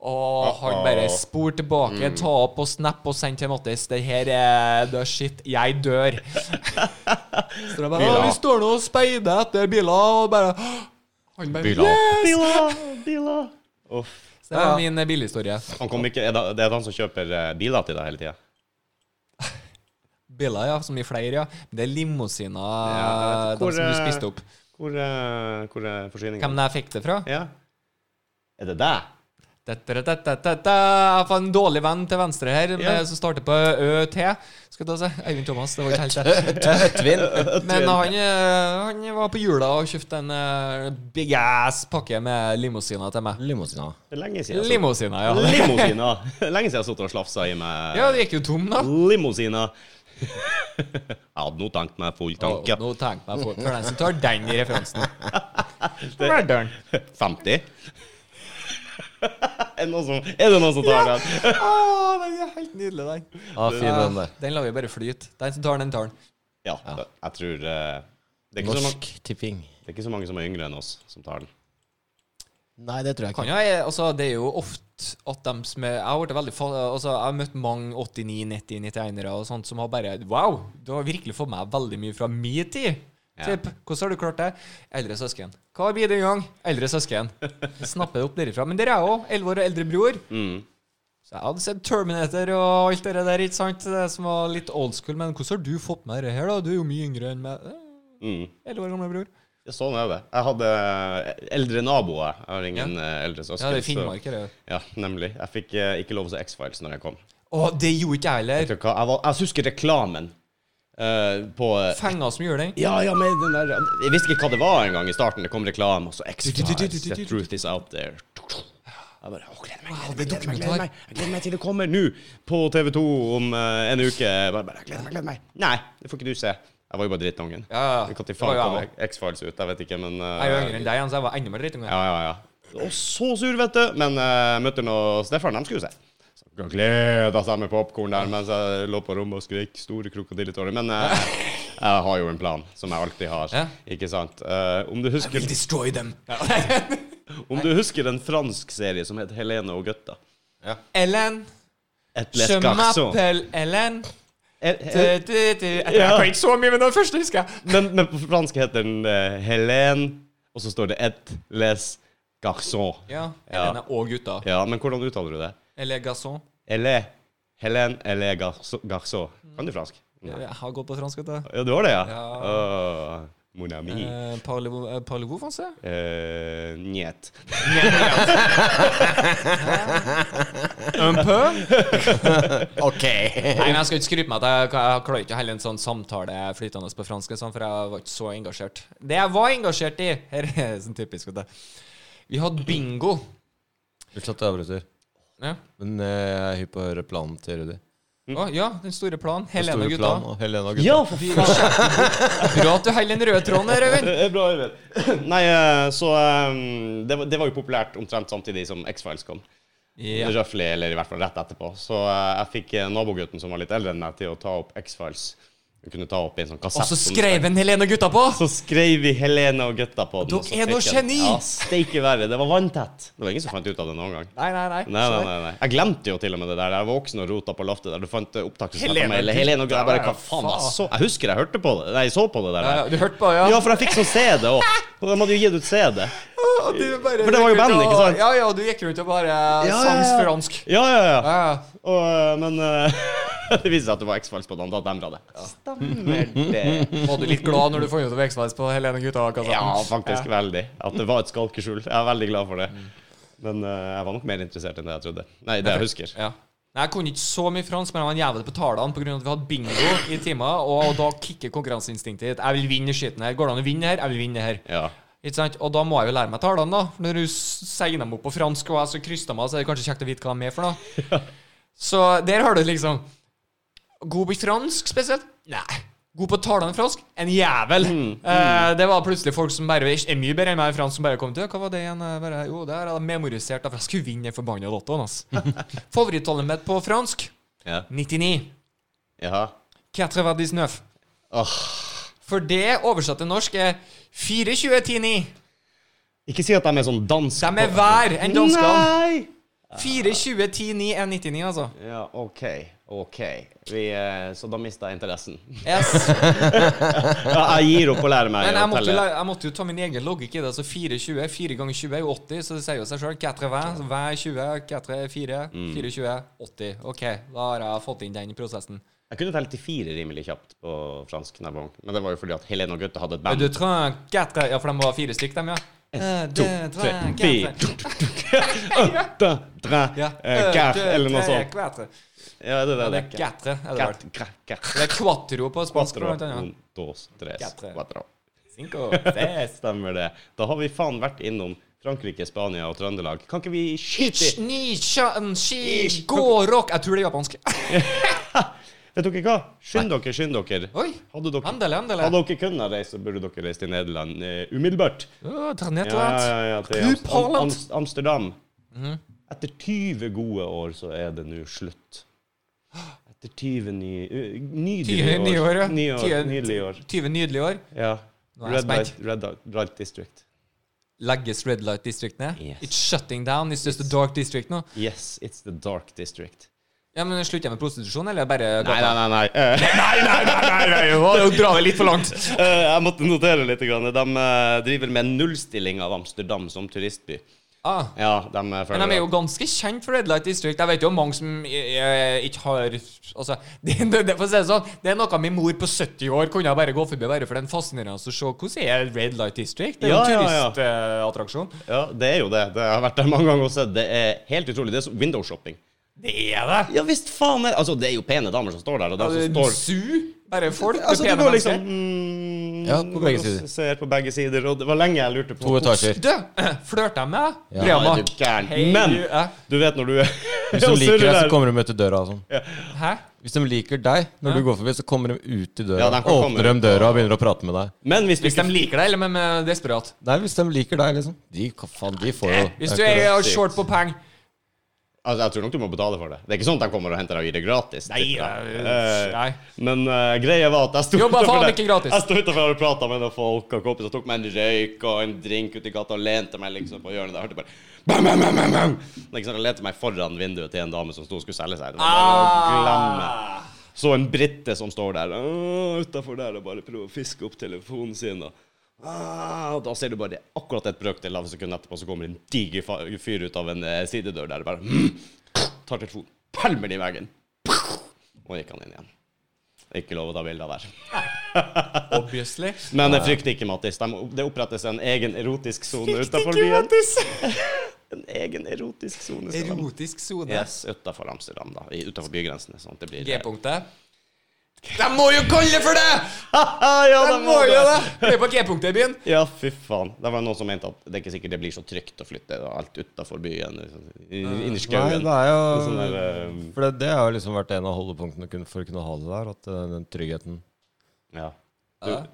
S3: Og
S1: Ah,
S3: han bare spor tilbake,
S1: Mm.
S3: ta opp på snap og send til Mattis. Det her er the shit. Jeg dør. Så det er bare,
S1: Biler.
S3: «Å, Vi står nå og speider etter biler, og bare «Åh!» Han bare
S2: Biler.
S3: «Yes!»
S1: Bila! Bila! Uff.
S3: Så Det var min eh, bilhistorie.
S1: Han kom ikke, er det, det er han som kjøper eh, biler til deg hele tida?
S3: Biler, ja. Som i flere, ja. Men Det er limousiner,
S1: Ja, jeg vet
S3: de
S1: ikke
S3: som
S1: hvor,
S3: du
S1: eh,
S3: spiste opp.
S1: Hvor, eh, hvor er
S3: Hvem
S1: forsyningene?
S3: jeg fikk det fra?
S1: Ja. Er det deg?
S3: Da-da-da-da-da-da. Jeg får en dårlig venn til venstre her,
S1: Ja.
S3: med- som starter på ØT. Skal vi ta se. Eivind Thomas, det var ikke helt det.
S2: Tvinn.
S3: Men han, eh, han var på jula og kjøpte en eh, big ass pakke med limousiner til meg.
S2: Limousina.
S1: Det er lenge siden. jeg
S3: Limousiner, ja.
S1: har sittet- Limousina. Lenge siden jeg har sittet og slafsa i meg
S3: Ja, det gikk jo tom, da.
S1: limousina. Jeg hadde nå tenkt meg full tanke.
S3: Å, nå tenker jeg på For den som tar den i referansen. Verdøren.
S1: 50? er, det noen som, er det noen som tar den?
S3: Å, den er helt nydelig, den.
S2: Ja, fin den der.
S3: Den lar vi bare flyte. Den som tar den, tar den.
S1: Ja, jeg tror eh, det, er ikke så mange,
S2: Norsk Tipping.
S1: det er ikke så mange som er yngre enn oss, som tar den.
S2: Nei, det tror jeg
S3: Kan
S2: ikke.
S3: jo, jeg, altså, det er jo ofte at dem som er Jeg har vært veldig fa- altså, jeg har møtt mange 89-, 90-, 91-ere og sånt som har bare Wow! Du har virkelig fått meg veldig mye fra min tid. Typ, hvordan har du klart det? Eldre søsken. Hva blir det en gang? Eldre søsken. Jeg Snapper det opp derifra. Men dere er òg elleve år og eldre bror.
S1: Mm.
S3: Så jeg hadde sett Terminator og alt det der, ikke sant? Det som var litt old school. Men hvordan har du fått med det her, da? Du er jo mye yngre enn meg.
S1: Mm.
S3: Elleve år gamle bror.
S1: Det er Sånn er det. Jeg hadde eh, eldre naboer. Jeg har ingen eh, eldre søsken.
S3: Ja, det er
S1: så-
S3: Finnmark, det er jo.
S1: Ja, nemlig. Jeg fikk eh, ikke lov å se X-Files når jeg kom.
S3: Å, det gjorde ikke jeg
S1: Vet
S3: heller.
S1: du hva? Jeg, var, jeg husker reklamen eh, på
S3: Fenga som gjorde den.
S1: Ja, ja, men den der Jeg visste ikke hva det var engang i starten. Det kom reklame, og så X-Files. The truth is out there. Jeg bare å, gleder meg, gleder meg, gleder meg, gleder meg, jeg gleder meg til det kommer nå på TV2 om eh, en uke. Jeg Bare, bare, jeg gleder meg, gleder meg. Nei, det får ikke du se. Jeg var jo bare drittungen.
S3: Ja, ja, ja.
S1: Når
S3: Det var
S1: faen
S3: jo jeg
S1: kom X-Files ut? Jeg vet ikke, men eh,
S3: Jeg er jo yngre enn deg, Jens. Jeg var enda mer drittunge.
S1: Ja, ja, ja. Og så sur, vet du. Men jeg møtte nå Stefan, de skulle se. Så han Gleda seg med popkorn der mens jeg lå på rommet og skrek store krokodilletårer. Men eh, jeg har jo en plan, som jeg alltid har.
S3: Ja.
S1: Ikke sant? Eh, om, du husker,
S3: destroy them.
S1: om du husker en fransk serie som het Helene og gutta?
S3: Ellen,
S1: Et
S3: je
S1: lescarson.
S3: m'appelle Ellen.
S1: Er-
S3: Du,
S1: er-
S3: du, du. Jeg
S1: Eh, Ja.
S3: kan ikke så mye, men den første husker jeg.
S1: Men, men på fransk heter den eh, Helene, og så står det Et les garçon.
S3: Ja,
S1: Ja.
S3: Ellen er og gutta.
S1: Ja, men hvordan uttaler du det?
S3: Eller Gasson.
S1: Ele, Helene Ele garçon. garçon. Kan du fransk?
S3: Jeg har gått på fransk, vet du.
S1: Ja, du har det, ja?
S3: Ja.
S1: Åh, mon ami.
S3: Eh, Parlez-vous eh, parlez-vous français?
S1: Eh, njet.
S3: Un peu?
S2: Ok.
S3: Nei, men Jeg skal ikke skryte meg at jeg, jeg klarer ikke å holde en sånn samtale flytende på fransk, sånn, for jeg var ikke så engasjert. Det jeg var engasjert i Her er det sånn typisk. vet du. Vi hadde bingo.
S2: Unnskyld at jeg avbryter,
S3: Ja,
S2: men eh, jeg er hypp på å høre planen til Rudi.
S3: Å, ja den store planen.
S2: Den
S3: Helene
S2: store
S3: og gutta.
S2: planen, og Helene og gutta.
S1: Ja, for faen!
S3: Bra at du holder den røde tråden her, Øyvind.
S1: Det er Eh, bra, Øyvind. Nei, eh, så eh, det, var- det var jo populært omtrent samtidig som X-Files kom.
S3: Ja.
S1: Røffelig, eller i hvert fall rett etterpå. Så eh, jeg fikk eh, nabogutten som var litt eldre enn meg, til å ta opp X-Files. Hun kunne ta opp i en sånn kassett.
S3: Og så
S1: som-
S3: skrev en Helene og gutta på!
S1: så skrev vi Helene og gutta på den.
S3: Dere
S1: og så
S3: er
S1: fikk
S3: noe
S1: den-
S3: geni!
S1: Ja, steike verre. Det var vanntett. Det var ingen som fant ut av det noen gang.
S3: Nei, nei, nei.
S1: Nei, nei, nei, nei. Jeg glemte jo til og med det der. Jeg var voksen og rota på loftet der. Du fant eh, opptaket som
S3: Helene
S1: Helene, eller Helene og Jeg bare, hva faen, jeg så Jeg husker jeg hørte på det. Nei, jeg så på det der.
S3: Ja, ja, du hørte på, ja?
S1: Ja, for jeg fikk sånn CD òg. Og de hadde jo gitt ut CD.
S3: Og du bare
S1: For det var jo
S3: gikk rundt
S1: band,
S3: og-
S1: ikke sant?
S3: Ja, ja, du gikk rundt og bare
S1: ja,
S3: sang
S1: ja.
S3: fransk.
S1: Ja, ja, ja.
S3: Ja, ja.
S1: Og, eh, men eh, det viste seg at det var X-Files på den. Da demra det. Stemmer det.
S3: Var du litt glad når du fant ut av X-Files på Helene og gutta? kassetten?
S1: Ja, faktisk veldig. At det var et skalkeskjul. Jeg er veldig glad for det. Men eh, jeg var nok mer interessert enn det jeg trodde. Nei, det jeg husker.
S3: Ja. Nei, Jeg kunne ikke så mye fransk, men jeg var en jævel på tallene pga. at vi hadde bingo i timer, og da kicker konkurranseinstinktet ditt. Jeg vil vinne i skiten her. Går det an å vinne her? Jeg vil vinne her.
S1: Ja.
S3: Ikke sant? Og da må jeg jo lære meg tallene, da. For Når du s- segner dem opp på fransk, og jeg så krysser meg, så er det kanskje kjekt å vite hva de er for noe. Så der har du liksom God på fransk spesielt? Nei. God på talende fransk? En jævel! Eh, det var plutselig folk som bare er mye bedre enn meg i fransk, som bare kom til Hva var det igjen? Jeg Bare, jo, det her hadde jeg memorisert, da, for jeg skulle vinne den forbanna lottoen, altså. Favorittallet mitt på fransk?
S1: Ja.
S3: 99.
S1: Jaha.
S3: 99.
S1: Åh.
S3: For det oversatt til norsk er 42109.
S1: Ikke si at de er sånn dansk.
S3: De er hver en danskene.
S1: Nei!
S3: 42109 er 99, altså.
S1: Ja, OK. OK. Vi, eh, så da mista jeg interessen.
S3: Yes.
S1: Ja, jeg gir opp å lære meg
S3: Men jeg
S1: å
S3: måtte, jo
S1: telle.
S3: la- jeg måtte jo ta min egen logikk i det. Så 420, 4 ganger 20 er jo 80, så det sier jo seg sjøl. 80, så hver 20, 4, 4,
S1: Mm.
S3: 24, 80. OK, da har jeg fått inn den prosessen.
S1: Jeg kunne telle til fire rimelig kjapt på fransk. når jeg var ung. Men det var jo fordi at Helene og gutta hadde et
S3: Men
S1: band.
S3: Du trenger 4 Ja, for de var fire stykk, dem, ja. Eh, En,
S1: To, tre, fire tuk, tuk, tuk. Un, deux, trois,
S3: Ja.
S1: eh, quatre, Eller noe sånt.
S3: Quatre.
S1: Ja, det
S3: Ja,
S1: er
S3: det
S1: det.
S3: er quatre, er det vel.
S1: Quatre, quatre, quatre.
S3: Det er quattro på spansk,
S1: Quattro, Mm.
S3: blant annet.
S1: un, dos, tres,
S3: Quatre.
S1: quattro.
S3: Cinco.
S1: Det stemmer, det. Da har vi faen vært innom Frankrike, Spania og Trøndelag. Kan ikke vi skyte i
S3: Ni, shan, shi, gå, rock. Jeg tror det er japansk.
S1: Vet dere hva? Skynd dere, skynd dere.
S3: Oi.
S1: Hadde dere,
S3: Handel, handel.
S1: hadde dere kunnet reise, så burde dere reist til Nederland eh, umiddelbart.
S3: Å, ta
S1: Ja,
S3: Nederland.
S1: ja, ja, til
S3: Knut
S1: Amst-
S3: Haaland.
S1: Amst- Amsterdam.
S3: Mhm.
S1: Etter 20 gode år så er det nå slutt. Etter 20 ny, ø, nydelige
S3: 20 nye år, ja.
S1: Nye år,
S3: 20
S1: Nydelige år.
S3: 20 nydelige år.
S1: Ja.
S3: Nå er jeg
S1: Red Light, Red Light District.
S3: Legges Red Light District ned?
S1: Yes.
S3: It's shutting down. It's just a dark district nå.
S1: Yes, it's the dark district.
S3: Ja, men Slutter jeg med prostitusjon, eller bare
S1: Nei, nei, nei. nei. Eh,
S3: Du drar det litt for langt.
S1: eh, jeg måtte notere litt. Grann. De eh, driver med nullstilling av Amsterdam som turistby.
S3: Ah.
S1: Ja, de eh, føler
S3: Men de er jo
S1: at-
S3: ganske kjent for Red Light District. Jeg vet jo om mange som eh, ikke har Altså, det, det, det, for å si det sånn, det er noe min mor på 70 år kunne bare gå forbi bare for den fascinerende å se hvordan er Red Light District? Det er jo en
S1: Ja, ja, ja.
S3: turistattraksjon.
S1: ja, det er jo det. Det har jeg vært der mange ganger også. Det er helt utrolig. Det er som windowshopping.
S3: Det er det!
S1: Ja visst faen er Altså, det er jo pene damer som står der, og de som Altså, står
S3: Su. Bare folk.
S1: Altså,
S3: pene
S1: du går
S3: mennesker.
S1: liksom mm,
S2: Ja, på begge
S1: og
S2: sider.
S1: Ser på begge sider, og det var lenge jeg lurte på
S2: To etasjer.
S3: Du, flørter jeg med deg?
S2: Ja,
S1: Ja,
S3: Brema.
S1: er du gæren.
S3: Hei,
S1: Men
S3: du, eh,
S1: du vet når du er
S2: Hvis de liker deg, så kommer de ut til døra. og Sånn.
S3: Hæ?
S2: Hvis de liker deg når
S3: Ja.
S2: du går forbi, så kommer de ut i døra.
S1: Ja, de kan komme
S2: åpner
S1: ut.
S2: dem døra og begynner å prate med deg.
S1: Men hvis du
S3: Hvis de
S1: ikke
S3: liker deg, eller med, med desperat.
S2: Nei, hvis de liker deg, liksom. De, faen, de får jo
S3: Hvis
S2: det
S3: du
S2: er ikke
S3: er
S2: det.
S1: sykt.
S3: short på penger
S1: Altså, jeg tror nok du må betale for det. Det er ikke sånn at de kommer og henter deg og gir det gratis.
S3: Nei,
S1: tipper jeg.
S3: eh,
S1: Eh,
S3: nei.
S1: Men eh, greia var at jeg sto
S3: Jobba
S1: utenfor
S3: faen
S1: der-
S3: ikke gratis.
S1: Jeg sto utenfor og prata med noen folk og kompiser. Tok meg en røyk og en drink uti gata og lente meg liksom på hjørnet. der. Jeg hørte bare bam, bam, bam, bam, bam. Liksom, jeg lente meg foran vinduet til en dame som sto og skulle selge seg. Det var bare å glemme.
S3: Ah.
S1: Så en brite som står der «Åh, utenfor der og bare prøver å fiske opp telefonen sin. Og, «Åh», og da ser du bare akkurat et brøkdel av et sekund etterpå, så kommer en diger fa- fyr ut av en eh, sidedør der og bare «Hm», tar telefonen, pælmer den i veggen. Og gikk han inn igjen. Ikke lov å ta bilder der.
S3: Ah, Obviously.
S1: Men eh, frykt ikke, Mattis. De, det opprettes en egen erotisk sone utenfor
S3: Ikke
S1: byen.
S3: gratis.
S1: En egen erotisk sone. skal de-
S3: Erotisk sone.
S1: Yes, utenfor Amsterdam, da. I- Utenfor bygrensene. Sånn at det blir
S3: G-punktet. De må jo kalle det for det!
S1: ja,
S3: De
S1: de
S3: må
S1: det.
S3: jo det! Det er på G-punktet i byen.
S1: Ja, fy faen. Det var noen som mente at det er ikke sikkert det blir så trygt å flytte og alt utafor byen. liksom, i- Inni
S2: Nei,
S1: skauen.
S2: det er jo
S1: Sånn der, eh,
S2: For det, det har jo liksom vært en av holdepunktene kun- for å kunne ha det der, at eh, den tryggheten
S1: Ja. Du,
S3: Ja. Ah.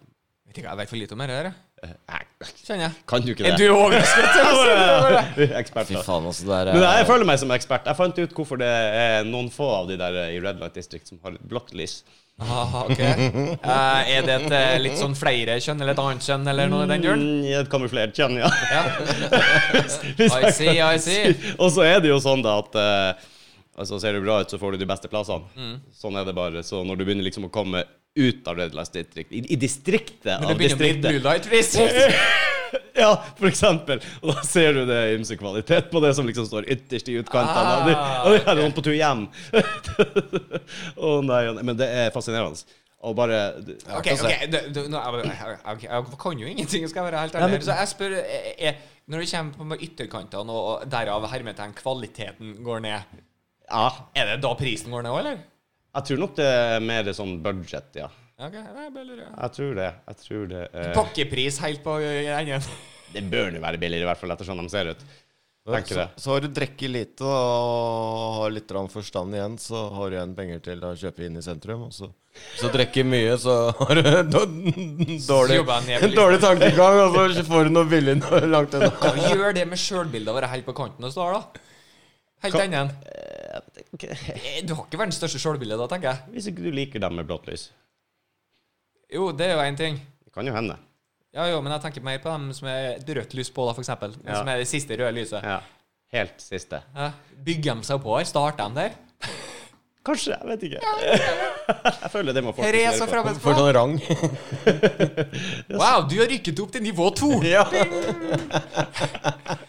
S3: Vet ikke, jeg vet for lite om det her, jeg.
S1: jeg
S3: kjenner jeg.
S1: kan jo ikke
S3: Er du
S1: det.
S3: overrasket?
S1: Ekspert,
S2: Fy
S1: da.
S2: faen, altså, det er
S1: Men jeg føler meg som ekspert. Jeg fant ut hvorfor det er noen få av de der i Red Light District som har blått lys.
S3: Ah, ok. Eh, er det et eh, litt sånn flere kjønn, eller et annet kjønn, eller noe i den duren?
S1: Mm, i et kamuflert kjønn, ja.
S3: Ja. I see, I see.
S1: Og så er det jo sånn da at eh, altså Ser du bra ut, så får du de beste plassene.
S3: Mm.
S1: Sånn er det bare. Så når du begynner liksom å komme ut av Red Light District, i, i distriktet
S3: Når det begynner
S1: av
S3: å bli
S1: distriktet
S3: blue light district.
S1: Ja, for eksempel. Og da ser du det er ymse kvalitet på det som liksom står ytterst i utkantene.
S3: Ah,
S1: og det, og det er noen på tur hjem. Å nei, å nei. Men det er fascinerende. Og bare
S3: Ok, ok, du- du- nå- jeg- jeg- jeg- jeg kan jo ingenting, skal jeg være helt ærlig. Så jeg spør eh, eh, Når det kommer på ytterkantene, og og derav hermetegn, kvaliteten går ned
S1: Ja,
S3: Er det da prisen går ned òg, eller?
S1: jeg tror nok det er mer sånn budget, ja.
S3: Ja, Ok, Nei, jeg bare lurer. ja.
S1: Jeg tror det. Jeg tror det eh,
S3: Pakkepris helt på ø, i enden.
S1: Det bør jo være billigere, i hvert fall etter sånn de ser ut. Tenker
S2: Så,
S1: det.
S2: så har du drukket lite og har litt grann forstand igjen, så har du igjen penger til å kjøpe inn i sentrum. Og så, så drikker mye, så har du en dårlig,
S3: jobber jeg ned på
S2: en dårlig tankegang, og så får du noe billig noe langt unna.
S3: Hva gjør det med sjølbildet å være helt på kanten og stå her, da? Helt i enden. Eh, Du har ikke verdens største sjølbilde da, tenker jeg.
S1: Hvis ikke du liker dem med blått lys.
S3: Jo, det er jo én ting.
S1: Det kan jo hende.
S3: Ja, jo, men jeg tenker mer på dem som er et rødt lys på, da, for eksempel.
S1: Ja.
S3: Som er det siste røde lyset.
S1: Ja. Helt siste.
S3: Ja. Bygger de seg på her? Starter de der?
S1: Kanskje. Jeg vet ikke. Jeg føler det må folk
S3: Therese og
S1: spekulere på.
S3: fremmed
S2: Får sånn rang.
S3: Wow, du har rykket opp til nivå to!
S2: Ja.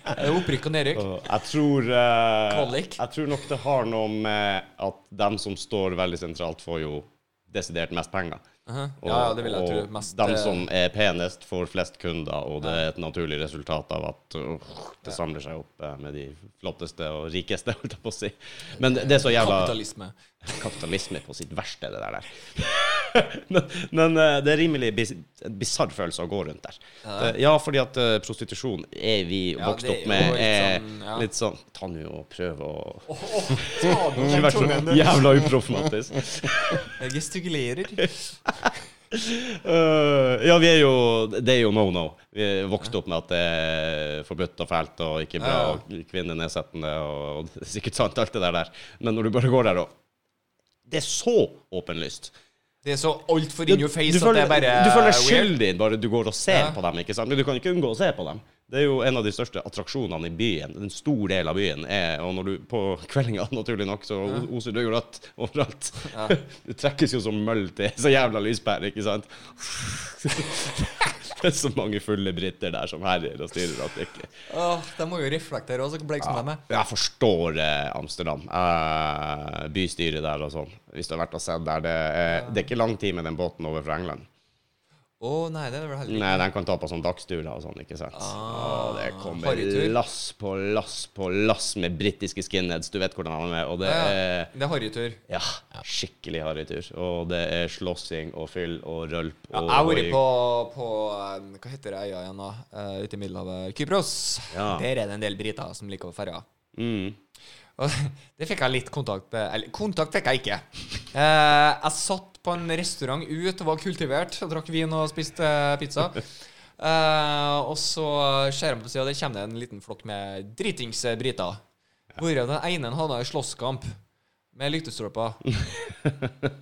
S3: Er det Opprykk og nedrykk.
S1: Og Jeg tror, eh,
S3: Kvalik.
S1: jeg tror nok det har noe med at dem som står veldig sentralt, får jo desidert mest penger.
S3: Aha. Ja, ja, det vil jeg tro.
S1: og
S3: Mest
S1: dem
S3: eh,
S1: som er penest, får flest kunder, og det er et naturlig resultat av at åh, det samler seg opp eh, med de flotteste og rikeste, holdt jeg på å si. Men det er så jævla
S3: kapitalisme.
S1: kapitalisme på sitt verste, det der. men men eh, det er rimelig bis en bisarr følelse å gå rundt der. Ja, ja fordi at eh, prostitusjon er vi
S3: Ja,
S1: vokst
S3: det er
S1: opp med
S3: jo litt
S1: er
S3: sånn, ja.
S1: litt sånn Ta nå og prøv å
S3: Åh, ta den,
S1: Ikke
S3: den
S1: vær så
S3: tungen, du.
S1: jævla uproblematisk.
S3: Jeg gestikulerer.
S1: Eh, ja, vi er jo Det er jo no no. Vi er vokst opp med at det er forbudt og fælt og ikke bra,
S3: Ja, ja.
S1: og kvinner nedsettende og det er sikkert sant, alt det der der. Men når du bare går der og Det er så åpenlyst.
S3: Det er så altfor in your face at
S1: føler,
S3: det er bare
S1: du føler
S3: weird.
S1: skyldig bare du går og ser
S3: Ja.
S1: på dem. ikke sant? Men du kan ikke unngå å se på dem. Det er jo en av de største attraksjonene i byen. En stor del av byen er Og når du på kveldinga, naturlig nok, så o- oser det jo rødt overalt. Du trekkes jo som møll til så jævla lyspære, ikke sant? Det er så mange fulle briter der som herjer og styrer at det ikke
S3: Åh, de må jo reflektere også, så bleik som de er.
S1: jeg forstår eh, Amsterdam. Eh, bystyret der og sånn. Hvis du har vært og sett der. Det, er- det er ikke lang tid med den båten over fra England.
S3: Å nei, det er vel heller ikke
S1: Nei, den kan ta på sånn dagsturer og sånn, ikke sant.
S3: Ah,
S1: og det kommer
S3: harrytur.
S1: lass på lass på lass med britiske skinheads, du vet hvordan han er, og det
S3: Ja,
S1: er
S3: Det er harrytur.
S1: ja, skikkelig harrytur. Og det er slåssing og fyll og rølp
S3: Ja,
S1: og
S3: jeg har vært på, på eh, Hva heter det øya igjen, da? Eh, ute i Middelhavet. Kypros.
S1: Ja.
S3: Der er det en del briter som liker å ferja.
S1: Mm.
S3: Og det fikk jeg litt kontakt med. Eller, kontakt fikk jeg ikke. Eh, jeg satt på en restaurant ut og var kultivert og drakk vin og spiste eh, pizza. Eh, og så ser jeg på sida, der kommer det en liten flokk med dritings eh, briter. Hvorav den ene hadde en slåsskamp med lyktestolper.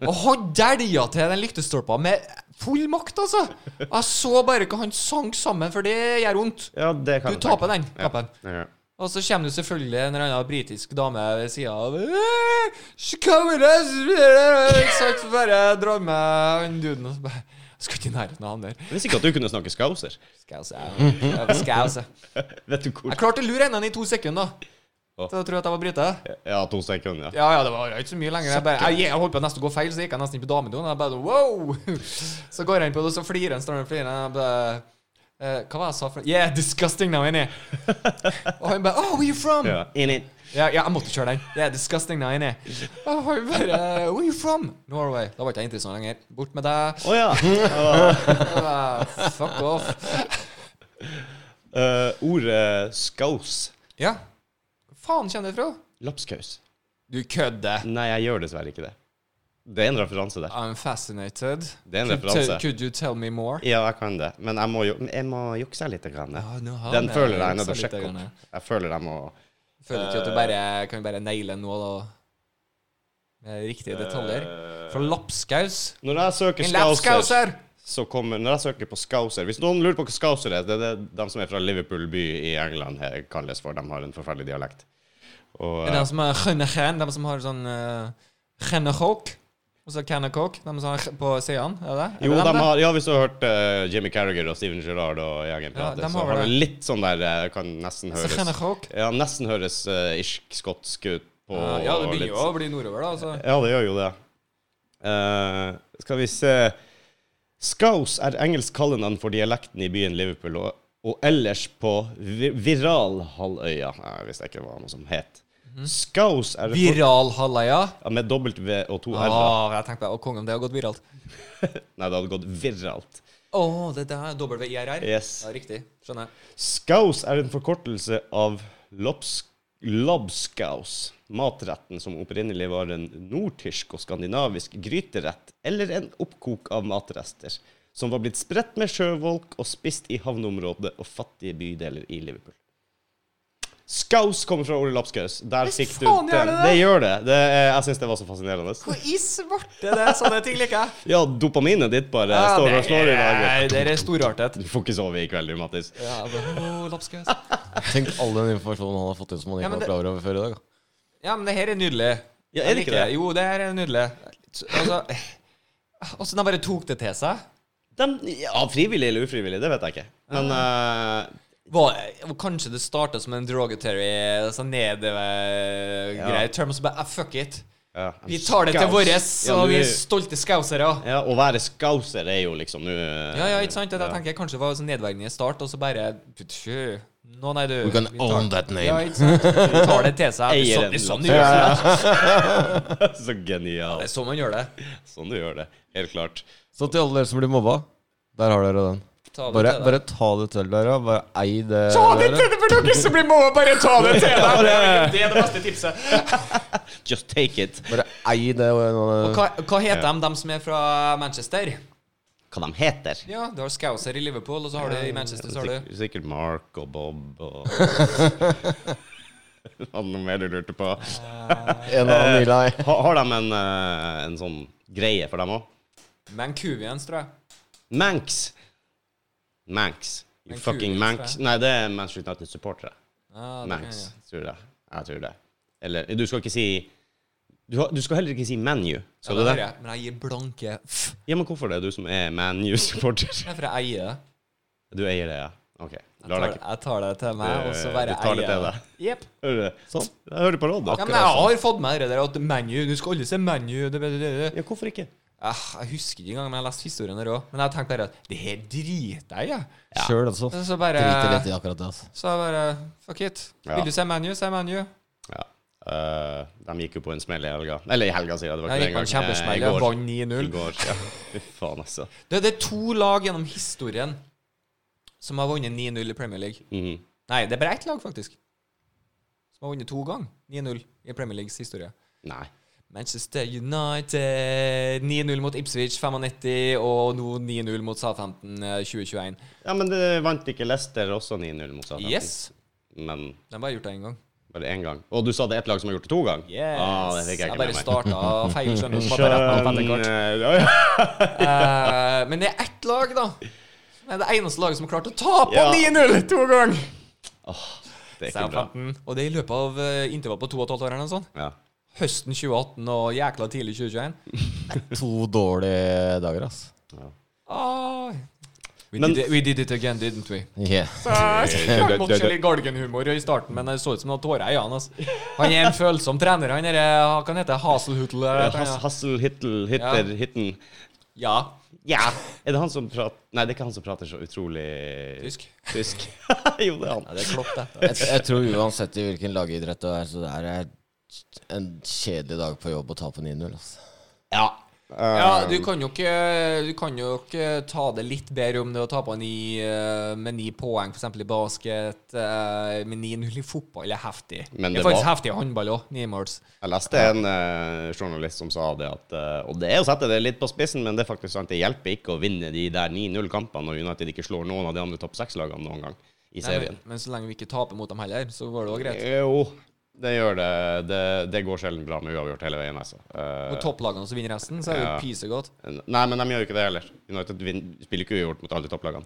S3: og han dælja til den lyktestolpa med full makt, altså! Og jeg så bare ikke han sank sammen, for det gjør vondt.
S1: Ja, det kan
S3: Du taper den
S1: Ja.
S3: kampen.
S1: Ja.
S3: Og så kommer det selvfølgelig en eller annen britisk dame ved sida av «Eh, så kommer det- Ikke sant? Så Bare drar med han duden og så bare Jeg skal ikke i nærheten av han der.
S1: Jeg visste ikke at du kunne snakke skauser.
S3: Skal jeg se. jeg- Skal jeg se.
S1: Vet du hvor
S3: Jeg klarte å lure en av han i to sekunder. da. Så jeg tror at jeg var brite.
S1: Ja, to sekunder, ja.
S3: Ja, ja, det var jo ikke så mye lenger. Jeg, bare, jeg, jeg holdt på å nesten å gå feil, så gikk jeg nesten inn på damedoen. og Jeg bare, wow! Så går jeg inn på det, og så flirer han, står han og flirer. og Jeg bare, eh, hva var det jeg sa? For? Yeah, disgusting now, inni. Og han bare, oh, where you from?
S1: ja. In it.
S3: Ja, ja, jeg måtte kjøre den. Yeah, disgusting now, inni. Og han bare, where you from? Norway. Da var ikke jeg interessant lenger. Bort med deg.
S1: Å ja.
S3: Jeg bare, Fuck off.
S1: Eh, ordet skaus.
S3: Ja. Hvor faen kommer det fra?
S1: Lapskaus.
S3: Du kødder.
S1: Nei, jeg gjør dessverre ikke det. Det er en referanse der.
S3: I'm fascinated.
S1: Det er en
S3: Could-
S1: referanse.
S3: Could you tell me more?
S1: Ja, jeg kan det. Men jeg må, jo, jeg må jukse litt. Grann.
S3: Ja, nå har
S1: Den
S3: vi
S1: føler jeg er nødt
S3: juksa
S1: til å
S3: litt
S1: sjekke
S3: grann.
S1: opp. Jeg føler jeg må
S3: Føler ikke at du bare kan bare naile nå, da? Med riktige detaljer. Fra
S1: Eh,
S3: lapskaus.
S1: Når jeg søker
S3: En lapskaus
S1: Scouser,
S3: her!
S1: så kommer Når jeg søker på Scouser Hvis noen lurer på hva Scouser er, det er det de som er fra Liverpool by i England her kalles for. De har en forferdelig dialekt. Og,
S3: Er det de som har gønnechen, de som har sånn gennekåk? Og så kennekåk, de som har på sidene? Er det?
S1: eh, jo, de har, ja, hvis du har hørt eh, Jimmy Carriger og Steven Gerrard og gjengen
S3: Ja,
S1: prate,
S3: de har
S1: så
S3: vel
S1: har det
S3: det.
S1: litt sånn der eh, Kan nesten høres
S3: Gennekåk.
S1: Ja, nesten høres eh, irsk-skotsk ut på
S3: Ah, Ja, det begynner
S1: litt-
S3: jo å bli nordover, da. altså. Så.
S1: Ja, det gjør jo det. Eh, skal vi se Scouse er engelsk kallenavn for dialekten i byen Liverpool og, og ellers på vi Viralhalvøya. Jeg visste ikke hva noe som het. Scouse er det for,
S3: Viralhalleia.
S1: ja, med W og to r-er.
S3: Ah, jeg tenkte, å, kongen, det har gått viralt.
S1: Nei, det hadde gått viralt.
S3: Å, det der er WIRR?
S1: Yes.
S3: Ja, riktig. Skjønner jeg.
S1: Scouse er en forkortelse av lobs, lobscouse, matretten som opprinnelig var en nordtysk og skandinavisk gryterett, eller en oppkok av matrester, som var blitt spredt med sjøvolk og spist i havneområdet og fattige bydeler i Liverpool. Scouse kommer fra ordet lapskaus. Der
S3: Hvis
S1: fikk du
S3: faen
S1: den.
S3: gjør det det?
S1: Det gjør det. det er- jeg syns det var så fascinerende.
S3: Hvor i svarte det er sånne ting liker jeg.
S1: Ja, dopaminet ditt bare
S3: Ja,
S1: står og
S3: det
S1: slår i dag.
S3: er- Det er storartet.
S1: Du får ikke sove i kveld, du, Mattis.
S3: Ja, men, å, lapskaus.
S2: Tenk all den informasjonen han har fått inn som han
S3: Ja, men
S2: ikke var
S3: det-
S2: klar over før i dag. da.
S3: Ja, men det her er nydelig.
S1: Ja, er
S3: Jeg
S1: det ikke
S3: liker
S1: det?
S3: Jo, det her er nydelig. Altså, eh, Åssen de bare tok det til seg.
S1: De, ja, frivillig eller ufrivillig, det vet jeg ikke. Men
S3: Ah.
S1: eh,
S3: Var, kanskje det starta som en derogatory, sånn nedover-greie.
S1: Ja.
S3: Term som bare ah, Fuck it.
S1: ja,
S3: Vi tar det til
S1: skaus.
S3: våres,
S1: Ja,
S3: og
S1: nå-
S3: vi er stolte skausere.
S1: ja, Å være skauser er jo liksom nå eh,
S3: Ja, ja, ikke sant? Det der tenker jeg kanskje var sånn nedverdigende i start, og så bare Sjø. Nå, nei, du
S2: We can
S3: vi tar-
S2: own that
S3: Ja,
S2: name.
S3: ikke sant? Vi tar det til seg. Det er
S1: Eier
S3: sånn, det er sånn
S1: den
S3: du gjør det.
S1: Så
S3: Det
S1: genialt.
S3: er sånn man gjør det.
S1: Sånn du gjør det. Helt klart.
S2: Så til alle dere som blir mobba, der har dere den.
S3: Ta det
S2: Bare,
S3: til deg.
S2: bare ta det til dere. og Bare ei det.
S3: Ta det
S2: dere.
S3: til deg, for dere som blir mamma, bare ta det til deg! Det er det beste tipset.
S1: Just take it.
S2: Bare ei det.
S3: Og hva, hva heter de, de som er fra Manchester?
S1: Hva de heter.
S3: Ja, du har Scouser i Liverpool, og så har du i Manchester, så har du
S1: Sik- Sikkert Mark og Bob og Hadde noe mer du lurte på?
S2: En av Nilay.
S1: Ha, har de en, eh, en sånn greie for dem òg?
S3: Mancuvians, tror jeg.
S1: Manx. Manx. You
S3: Men
S1: fucking
S3: kul,
S1: Manx.
S3: tror
S1: Nei, det er Manchester United-supportere.
S3: Ah, det kan
S1: Manx,
S3: jeg.
S1: tror jeg. Jeg tror det. Eller Du skal ikke si Du, har- du skal heller ikke si ManU. Skal
S3: Ja,
S1: du
S3: det
S1: det?
S3: har jeg, Men jeg gir blanke f.
S1: Ja, men hvorfor det? Du som er ManU-supporter.
S3: Det er for jeg eier det.
S1: Du eier det, ja? OK.
S3: Jeg
S1: Lar deg
S3: tar,
S1: ikke
S3: jeg tar det til meg, og så
S1: Du-
S3: bare
S1: du tar det
S3: eier
S1: til
S3: jeg Jep.
S1: Hører du det? Sånn. Jeg hører på råd.
S3: Ja,
S1: da.
S3: men jeg har fått med det der at menu, du skal aldri se menu det, det, det, det.
S1: sånn. Ja, hvorfor ikke?
S3: Ah, Jeg husker ikke engang, men jeg har lest historien der òg. Men jeg tenkte bare at det her driter jeg i.
S2: Sjøl, altså.
S3: jeg. Så bare
S2: Driter litt i akkurat det. altså.
S3: Så jeg bare Fuck it.
S1: Ja.
S3: Vil du se menu, se menu.
S1: Ja. Eh, de gikk jo på en smell i helga. Eller i helga, sier jeg. Det var
S3: Jeg
S1: ikke
S3: gikk på en
S1: engang. Eh, i
S3: kjempesmell.
S1: går.
S3: Jeg vant
S1: I
S3: 9-0.
S1: går. Ja. Fy faen, altså.
S3: Det, det er to lag gjennom historien som har vunnet 9-0 i Premier League.
S1: Mhm.
S3: Nei, det er bare ett lag, faktisk, som har vunnet to ganger 9-0 i Premier Leagues historie.
S1: Nei.
S3: Manchester United 9-0 mot Ipswich 95, og nå 9-0 mot Southampton eh, 2021.
S1: Ja, men det vant ikke Leicester også 9-0 mot Southampton?
S3: Yes!
S1: Men
S3: De har bare gjort det én gang.
S1: Bare én gang. Og du sa det er ett lag som har gjort det to ganger?
S3: Yes.
S1: Ah, det fikk jeg ikke
S3: bare
S1: med meg.
S3: starta feil, skjønner du. så bare rett på
S1: Skjønn,
S3: pannekart.
S1: eh, ja, ja.
S3: Eh, men det er ett lag, da. Det er det eneste laget som har klart å tape
S1: Ja.
S3: 9-0 to ganger!
S1: Det er ikke bra.
S3: Southampton. Og det er i løpet av eh, intervall på 2 12 år eller noe sånt.
S1: Ja.
S3: Høsten 2018 og jækla tidlig 2021.
S2: To dårlige dager, ass.
S3: Ah, we,
S1: Men-
S3: did it, we did it again, didn't we?
S2: Yeah.
S3: Ah, Jeg måtte se litt galgenhumor i starten, men det så ut som det var tårer i øynene. Altså. Han er en følsom trener, han derre Hva kan han hete? eh, Haselhutl? eller et eller
S1: Has,
S3: annet.
S1: Hassel, Hittel, Hitter,
S3: Ja.
S1: Hitten.
S3: Ja.
S1: Ja. Er det han som prater Nei, det er ikke han som prater så utrolig
S3: Tysk.
S1: Tysk. jo, det er
S3: ja.
S1: han.
S3: Det er klopp, det.
S2: Jeg, jeg tror uansett i hvilken lagidrett du er, så det her er en kjedelig dag på jobb å ta på 9-0. Altså.
S1: Ja. Eh,
S3: Ja, du kan jo ikke Du kan jo ikke ta det litt bedre om det å tape ni, eh, med ni poeng, f.eks. i basket. eh, Med 9-0 i fotball det er heftig.
S1: Men
S3: det
S1: det
S3: er faktisk
S1: var-
S3: heftig i håndball òg. Nimåls.
S1: Jeg leste en eh, journalist som sa det at eh, Og det er å sette det litt på spissen, men det er faktisk sant. Det hjelper ikke å vinne de der 9-0-kampene når United ikke slår noen av de andre topp seks-lagene noen gang
S3: Nei,
S1: i
S3: Men,
S1: serien.
S3: men så lenge vi ikke taper mot dem heller, så går det òg greit.
S1: Jo, det gjør det. det. Det går sjelden bra med uavgjort hele veien, altså. Eh,
S3: Mot topplagene som vinner resten, så er det jo
S1: Ja.
S3: pysegodt.
S1: nei, men de gjør jo ikke det heller. United vin- spiller ikke uavgjort mot alle topplagene.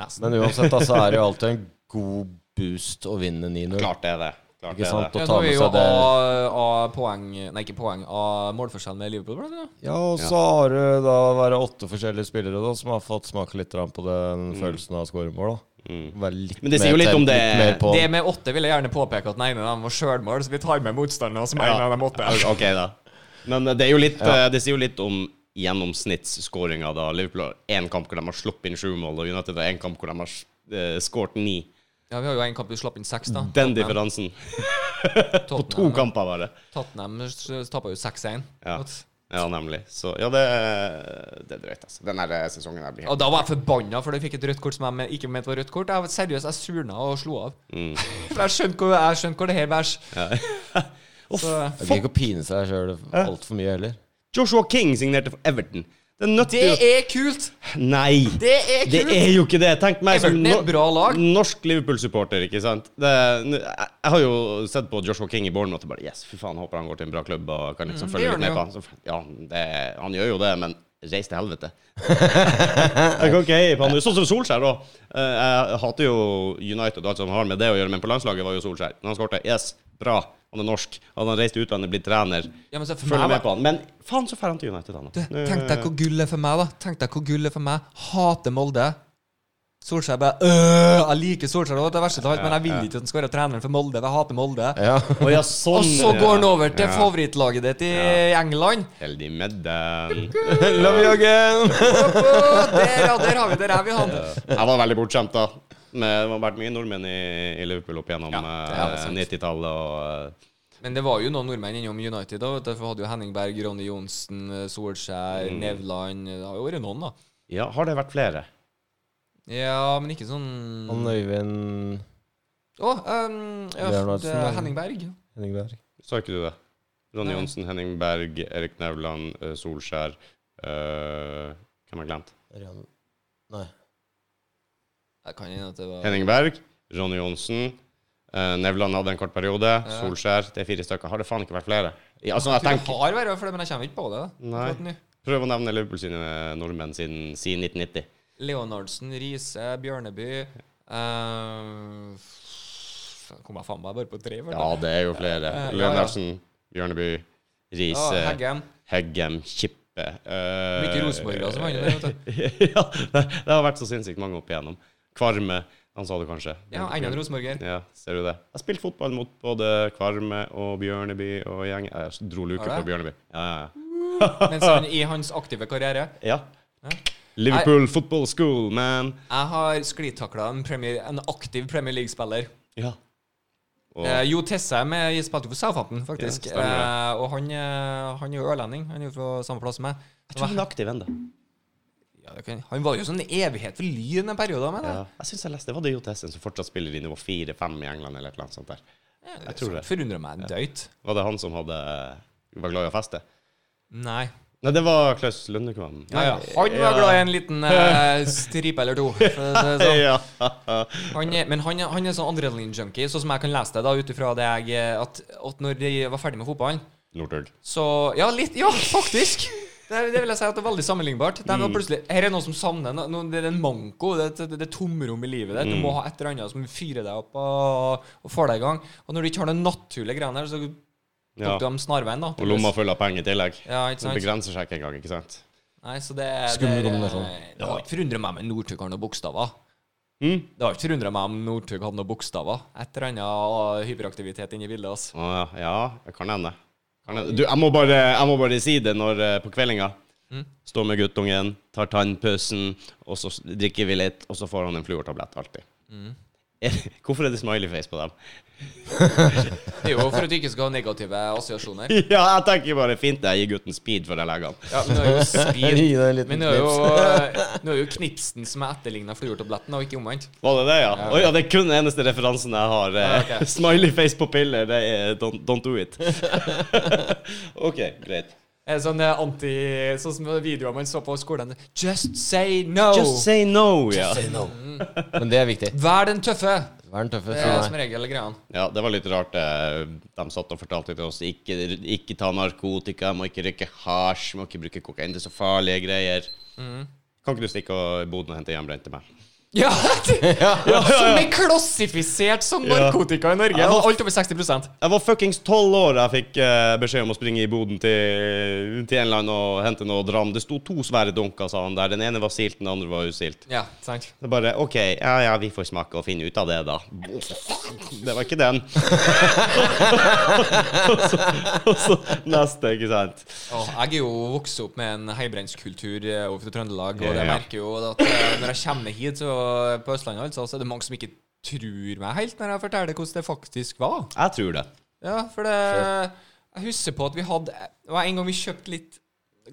S3: Nesten.
S2: Men uansett, altså, er det jo alltid en god boost å vinne 9-0.
S1: Klart det er det. Klart
S2: Ikke sant?
S3: Ja,
S1: Det.
S2: Å
S3: nå
S2: ta
S3: er
S2: med
S3: jo
S2: seg det.
S3: A-poeng Nei, ikke poeng. A-målforskjell med Liverpool, blant annet.
S2: Ja, og så har du da være åtte forskjellige spillere da, som har fått smake litt grann på den følelsen av å skåre mål. Da. Være litt
S1: Men det
S2: mer
S1: sier jo litt
S2: tent,
S1: om det-
S2: mer på.
S3: Det med åtte vil jeg gjerne påpeke at den ene av dem var sjølmål, så vi tar med motstanderne som
S1: Ja.
S3: en av dem åtte.
S1: Ok, Ok, da. Men eh, det, er jo litt, eh, det sier jo litt om gjennomsnittsskåringa, da. Liverpool har én kamp hvor de har sluppet inn sju mål, og United har én kamp hvor de har uh, eh, skåret ni.
S3: Ja, vi har jo en kamp vi slapp inn seks, da.
S1: Den differansen. På to kamper, bare.
S3: Tottenham tapte jo 6-1.
S1: Ja.
S3: What?
S1: Ja, nemlig. Så ja, det, det er drøyt, altså. Den her sesongen her blir
S3: Og
S1: helt
S3: da var jeg forbanna, for jeg fikk et rødt kort som jeg men- ikke mente var rødt kort. Jeg var seriøst, jeg surna og slo av.
S1: Mm.
S3: For jeg skjønte hvor, jeg skjønte hvor det her bæsj. Så-
S2: Det blir ikke å pine seg sjøl altfor mye heller.
S1: Joshua King signerte for Everton. Det er nødt
S3: Det
S1: til å
S3: er kult!
S1: Nei!
S3: Det er
S1: Det
S3: kult!
S1: er jo ikke det! Tenk meg som
S3: Everton er et bra lag.
S1: norsk Liverpool-supporter, ikke sant. Det, jeg jeg har jo sett på Joshua King i Bournemouth og bare Yes, fy faen, håper han går til en bra klubb og kan liksom
S3: Mm, det
S1: følge
S3: gjør
S1: litt med på
S3: han
S1: han. Så, ja, det, han gjør jo det, men reis til helvete. jeg kan ikke heie på han. Sånn som Solskjær òg. Jeg hater jo United og alt som har med det å gjøre, men på landslaget var jo Solskjær. Når han skårte, yes, bra, han er norsk. Hadde han reist til utlandet, blitt trener,
S3: Ja, men så for
S1: følger
S3: meg,
S1: med på han. Men faen, så drar han til United, han.
S3: Du, Tenk deg hvor gull er for meg, da. Tenk deg hvor gull er for meg. Hater Molde. Solskjær bare øh, Jeg liker Solskjær, det var det verste av alt, men jeg vil ikke at han skal være treneren for Molde. for Jeg hater Molde.
S2: Ja.
S1: Å, ja, sånn,
S3: Og så går han over til
S1: Ja.
S3: favorittlaget ditt i England.
S1: Heldig med den.
S2: Love you again!
S3: Åh, der, ja, der har vi der er vi han.
S1: Jeg var veldig bortskjemt, da. Men det har vært mye nordmenn i, i Liverpool opp gjennom
S3: ja, det er
S1: eh,
S3: sant.
S1: 90-tallet. Og, eh,
S3: Men det var jo noen nordmenn innom United. da, vet du, for vi hadde jo Henning Berg, Ronny Johnsen, eh, Solskjær, Nevland Det har jo vært noen, da.
S1: eh, ja, har det vært flere?
S3: Ja, men ikke sånn Å,
S2: Han Øyvind
S3: ehm, ja,
S2: Leonardsen,
S3: det er
S2: eller?
S3: Henning Berg.
S2: Henningberg.
S1: Så ikke du det? Ronny
S3: Nei.
S1: Johnsen, Henning Berg, Erik Nevland, eh, Solskjær eh, Hvem har jeg glemt?
S2: Ørjan- Nei.
S3: Jeg kan hende at det var
S1: Henning Berg, Ronny Johnsen. eh, Nevland hadde en kort periode. Solskjær. Det er fire stykker. Har det faen ikke vært flere? Ja, altså, jeg
S3: Jeg tror
S1: tenker,
S3: det har vært for det, men jeg kommer ikke på det. da.
S1: Nei.
S3: Akkurat nå.
S1: Prøv å nevne Liverpool sine nordmenn siden, siden 1990.
S3: Leonardsen, Riise, Bjørneby eh, f- Kom jeg faen meg bare på tre? var det?
S1: Ja, det er jo flere.
S3: Eh, ja, ja.
S1: Lønnarsen, Bjørneby,
S3: Ja,
S1: Riise.
S3: Heggen.
S1: Heggem, Kippe eh,
S3: Mye Rosenborgere som vant altså, det. vet du.
S1: ja, det, det har vært så sinnssykt mange opp igjennom. Kvarme, han sa det kanskje.
S3: Ja, enda en Rosenborger.
S1: Ja, ser du det? Jeg har spilt fotball mot både Kvarme og Bjørneby og gjeng. eh, Jeg dro luke
S3: Har
S1: på
S3: du?
S1: Bjørneby. Ja, ja,
S3: Mens han i hans aktive karriere
S1: ja. ja. Liverpool Football School, man.
S3: Jeg har sklitakla en, Premier- en aktiv Premier League-spiller.
S1: Ja. Og,
S3: Eh, jo Tessem eh, spilte jo for Southampton, faktisk.
S1: Ja, stemmer det.
S3: eh, og han, eh, han er jo ørlending. Han er jo fra samme plass som meg.
S1: jeg tror han er aktiv ennå.
S3: Ja, det kan- han var jo sånn en evighet for Lyn en periode, mener jeg.
S1: Ja. Jeg syns jeg leste Var det Jotessen som fortsatt spiller i nivå 4-5 i England, eller et eller annet sånt der? Jeg tror det.
S3: Forundrer meg drøyt.
S1: Var det han som hadde var glad i å feste?
S3: Nei.
S1: Nei, det var Klaus Lundekvam.
S3: Nei, Han var glad i en liten eh, stripe eller to. For å si det sånn.
S1: Ja.
S3: han er, men han er, han er sånn adrenalin-junkie, sånn som jeg kan lese det da, ut ifra det jeg eh, at, at når jeg var ferdig med fotballen,
S1: Northug.
S3: så Ja, litt Ja, faktisk! Det, er- det vil jeg si at det er veldig sammenlignbart. Det er plutselig, her er noe som savner no, no, Det er en manko. Det er et- det er tomrom i livet ditt. Du må ha et eller annet som fyrer deg opp og, og får deg i gang. Og når du ikke har den naturlige greia der, så tok
S1: Ja.
S3: du dem snarveien, da.
S1: Og lomma full av penger i tillegg.
S3: Ja, ikke
S1: Det
S3: sant?
S1: begrenser seg ikke engang, ikke sant?
S3: Nei, så det, det
S2: Skummel kombinasjon.
S3: Det har ikke forundret meg med Northug har noen bokstaver. Det har ikke forundret meg om Northug hadde noen bokstaver. Et eller annet hyperaktivitet inni bildet. Altså.
S1: Å ja, ja, det kan hende. Kan hende. Du, jeg må, bare, jeg må bare si det når, eh, på kveldinga.
S3: Mm.
S1: Står med guttungen, tar tannpussen, og så s- drikker vi litt, og så får han en fluortablett alltid.
S3: Mm.
S1: Hvorfor er det smileyface på dem?
S3: Det er jo for at du ikke skal ha negative assosiasjoner.
S1: Ja, jeg tenker bare fint jeg gir gutten speed før jeg legger han.
S3: Ja, men det er jo
S2: Gi
S3: speed.
S2: deg en liten
S3: Men det er jo, eh,
S2: knips.
S3: nå er jo Knipsen som er etterligna fluortabletten, og ikke omvendt.
S1: Var det det, ja? Å ja, det er kun den eneste referansen jeg har. eh,
S3: Ja, ok.
S1: Smileyface på piller, det er don't, don't do it. OK, greit.
S3: Er det Sånn eh, anti Sånn som videoer man så på skolen. Just say no!
S1: Oh. Just say no, ja.
S2: Mm. Men det er viktig.
S3: Vær den tøffe!
S2: Vær den tøffe.
S3: Det
S2: sier
S3: er
S2: jeg.
S3: som regel greia.
S1: Ja, det var litt rart. eh, De satt og fortalte til oss ikke, ikke ta narkotika, må ikke røyke hasj, må ikke bruke kokain. Det er så farlige greier. Mm. Kan ikke du stikke og i boden og hente hjemmebrent til meg?
S3: Ja, Som er klassifisert som narkotika i Norge.
S1: Ja,
S3: og Alt over 60
S1: Jeg var fuckings tolv år da jeg fikk eh, beskjed om å springe i boden til, til en eller annen og hente noe dram. Det sto to svære dunker, sa han der. Den ene var silt, den andre var usilt.
S3: Ja, sant.
S1: Det er bare OK, ja ja, vi får smake og finne ut av det, da. Det var ikke den. og, så, og så neste, ikke sant.
S3: Åh, jeg er jo vokst opp med en heimbrennskultur eh, over fra Trøndelag, og
S1: Ja,
S3: jeg
S1: ja.
S3: merker jo at eh, når jeg kommer hit så på Østlandet, altså, så er det mange som ikke tror meg helt når jeg forteller hvordan det faktisk var.
S1: Jeg tror det.
S3: Ja, for det Jeg husker på at vi hadde Det var en gang vi kjøpte litt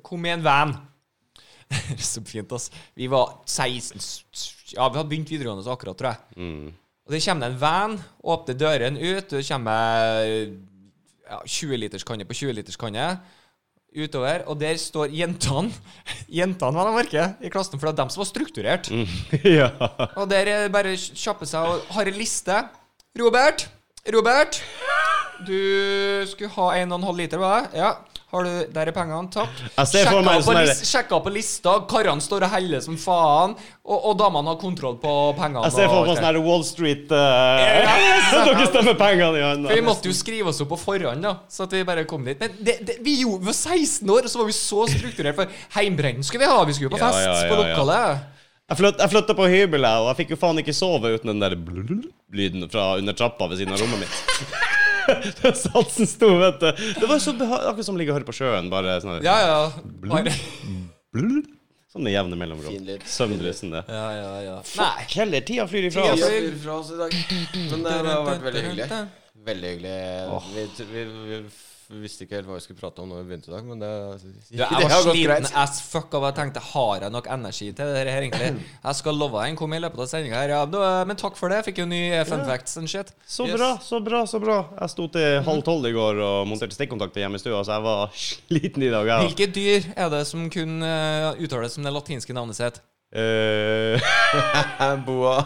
S3: Kom i en van. så fint, ass. Vi var 16 Ja, vi hadde begynt videregående så akkurat, tror jeg.
S1: Mm.
S3: Og det kommer det en van, åpner døren ut, og det kommer ja, 20-literskanne på 20-literskanne utover, og der står jentene. Jentene, vel å merke, i klassen, for det var dem som var strukturert.
S1: Mm. ja.
S3: Og der er det bare kjappe seg og har en liste. Robert! Robert! Du skulle ha 1,5 liter, var det? Ja. Har du, der er pengene. Takk.
S1: Jeg ser for meg en
S3: på,
S1: sånn
S3: lis- sjekka på lista. Karene står og heller som faen. Og, og damene har kontroll på pengene.
S1: Jeg ser for
S3: og
S1: meg
S3: alt
S1: sånn
S3: det.
S1: her Wall Street eh, Dere stemmer pengene i
S3: For Vi
S1: hånda.
S3: måtte jo skrive oss opp på forhånd, da. Så at vi bare kom dit. Men det, det, vi, gjorde, vi var 16 år, og så var vi så strukturert. For heimbrennen skulle vi ha. Vi skulle jo på
S1: Ja,
S3: fest
S1: ja, ja,
S3: på
S1: ja.
S3: lokalet.
S1: Jeg flyt- jeg flytta på hybel, jeg, og jeg fikk jo faen ikke sove uten den der lyden fra under trappa ved siden av rommet mitt. Satsen sto, vet du. Det var så beha akkurat som å ligge og høre på sjøen. Bare sånn her-
S3: Ja, ja. Bare.
S1: Blul. Sånn med jevne mellomrom.
S2: Fin lyd.
S1: Søvnløsende.
S3: Ja, ja, ja. Nei.
S1: Heller tida flyr ifra
S3: Tida
S1: oss.
S3: flyr.
S2: flyr fra oss i dag. Men det har vært veldig hyggelig. Veldig hyggelig. Vi, vi, vi f- visste ikke helt hva vi skulle prate om når vi begynte i dag, men det,
S3: Du, jeg
S2: det
S3: var
S2: har gått
S3: sliten
S2: greit.
S3: as fuck av at jeg tenkte Har jeg nok energi til det her, egentlig? Jeg skal love deg, den kom i løpet av sendinga her. Ja, da- men takk for det. Jeg fikk jo ny eh, fun facts and shit.
S1: Så
S2: Yes.
S1: bra, så bra, så bra. Jeg sto til halv tolv i går og monterte stikkontakter hjemme i stua, så jeg var sliten i dag, jeg. altså.
S3: Hvilke dyr er det som kun eh, uttales som det latinske navnet sitt?
S1: Eh,
S2: Boa.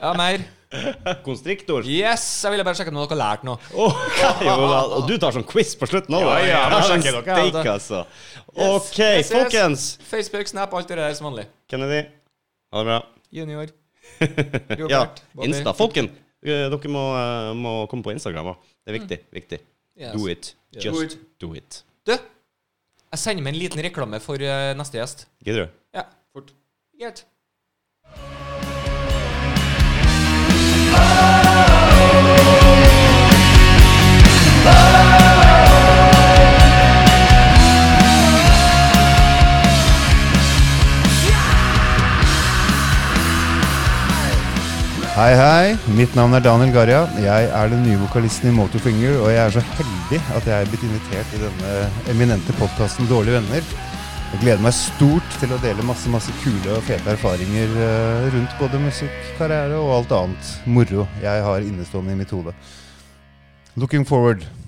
S3: Ja, mer?
S1: Eh, konstriktor.
S3: Yes! Jeg ville bare sjekke om dere har lært noe.
S1: Åh, jo da, og du tar sånn quiz på slutten òg?
S3: Ja, ja, da sjekker dere, ja,
S1: Steik,
S3: da.
S1: altså.
S3: Yes,
S1: OK,
S3: yes, yes.
S1: folkens.
S3: Facebook, Snap, alt det der som vanlig.
S1: Kennedy, ha det bra.
S3: Junior.
S1: Ja,
S3: Robert. Bobby.
S1: Insta. Folken, eh, dere må, eh, må komme på Instagram òg. Det er viktig. viktig.
S3: Yes.
S1: Do it.
S3: Yes.
S1: Just
S3: Do
S1: do
S3: it.
S1: it.
S3: Du, jeg sender med en liten reklame for eh, neste gjest.
S1: Gidder du?
S3: Ja. Fort. Greit.
S4: Hei, hei. Mitt navn er Daniel Garja. Jeg er den nye vokalisten i Motorfinger, og jeg er så heldig at jeg er blitt invitert i denne eminente podkasten Dårlige venner. Jeg gleder meg stort til å dele masse masse kule og fete erfaringer eh, rundt både musikk, karriere og alt annet moro jeg har innestående i mitt hode. Looking forward.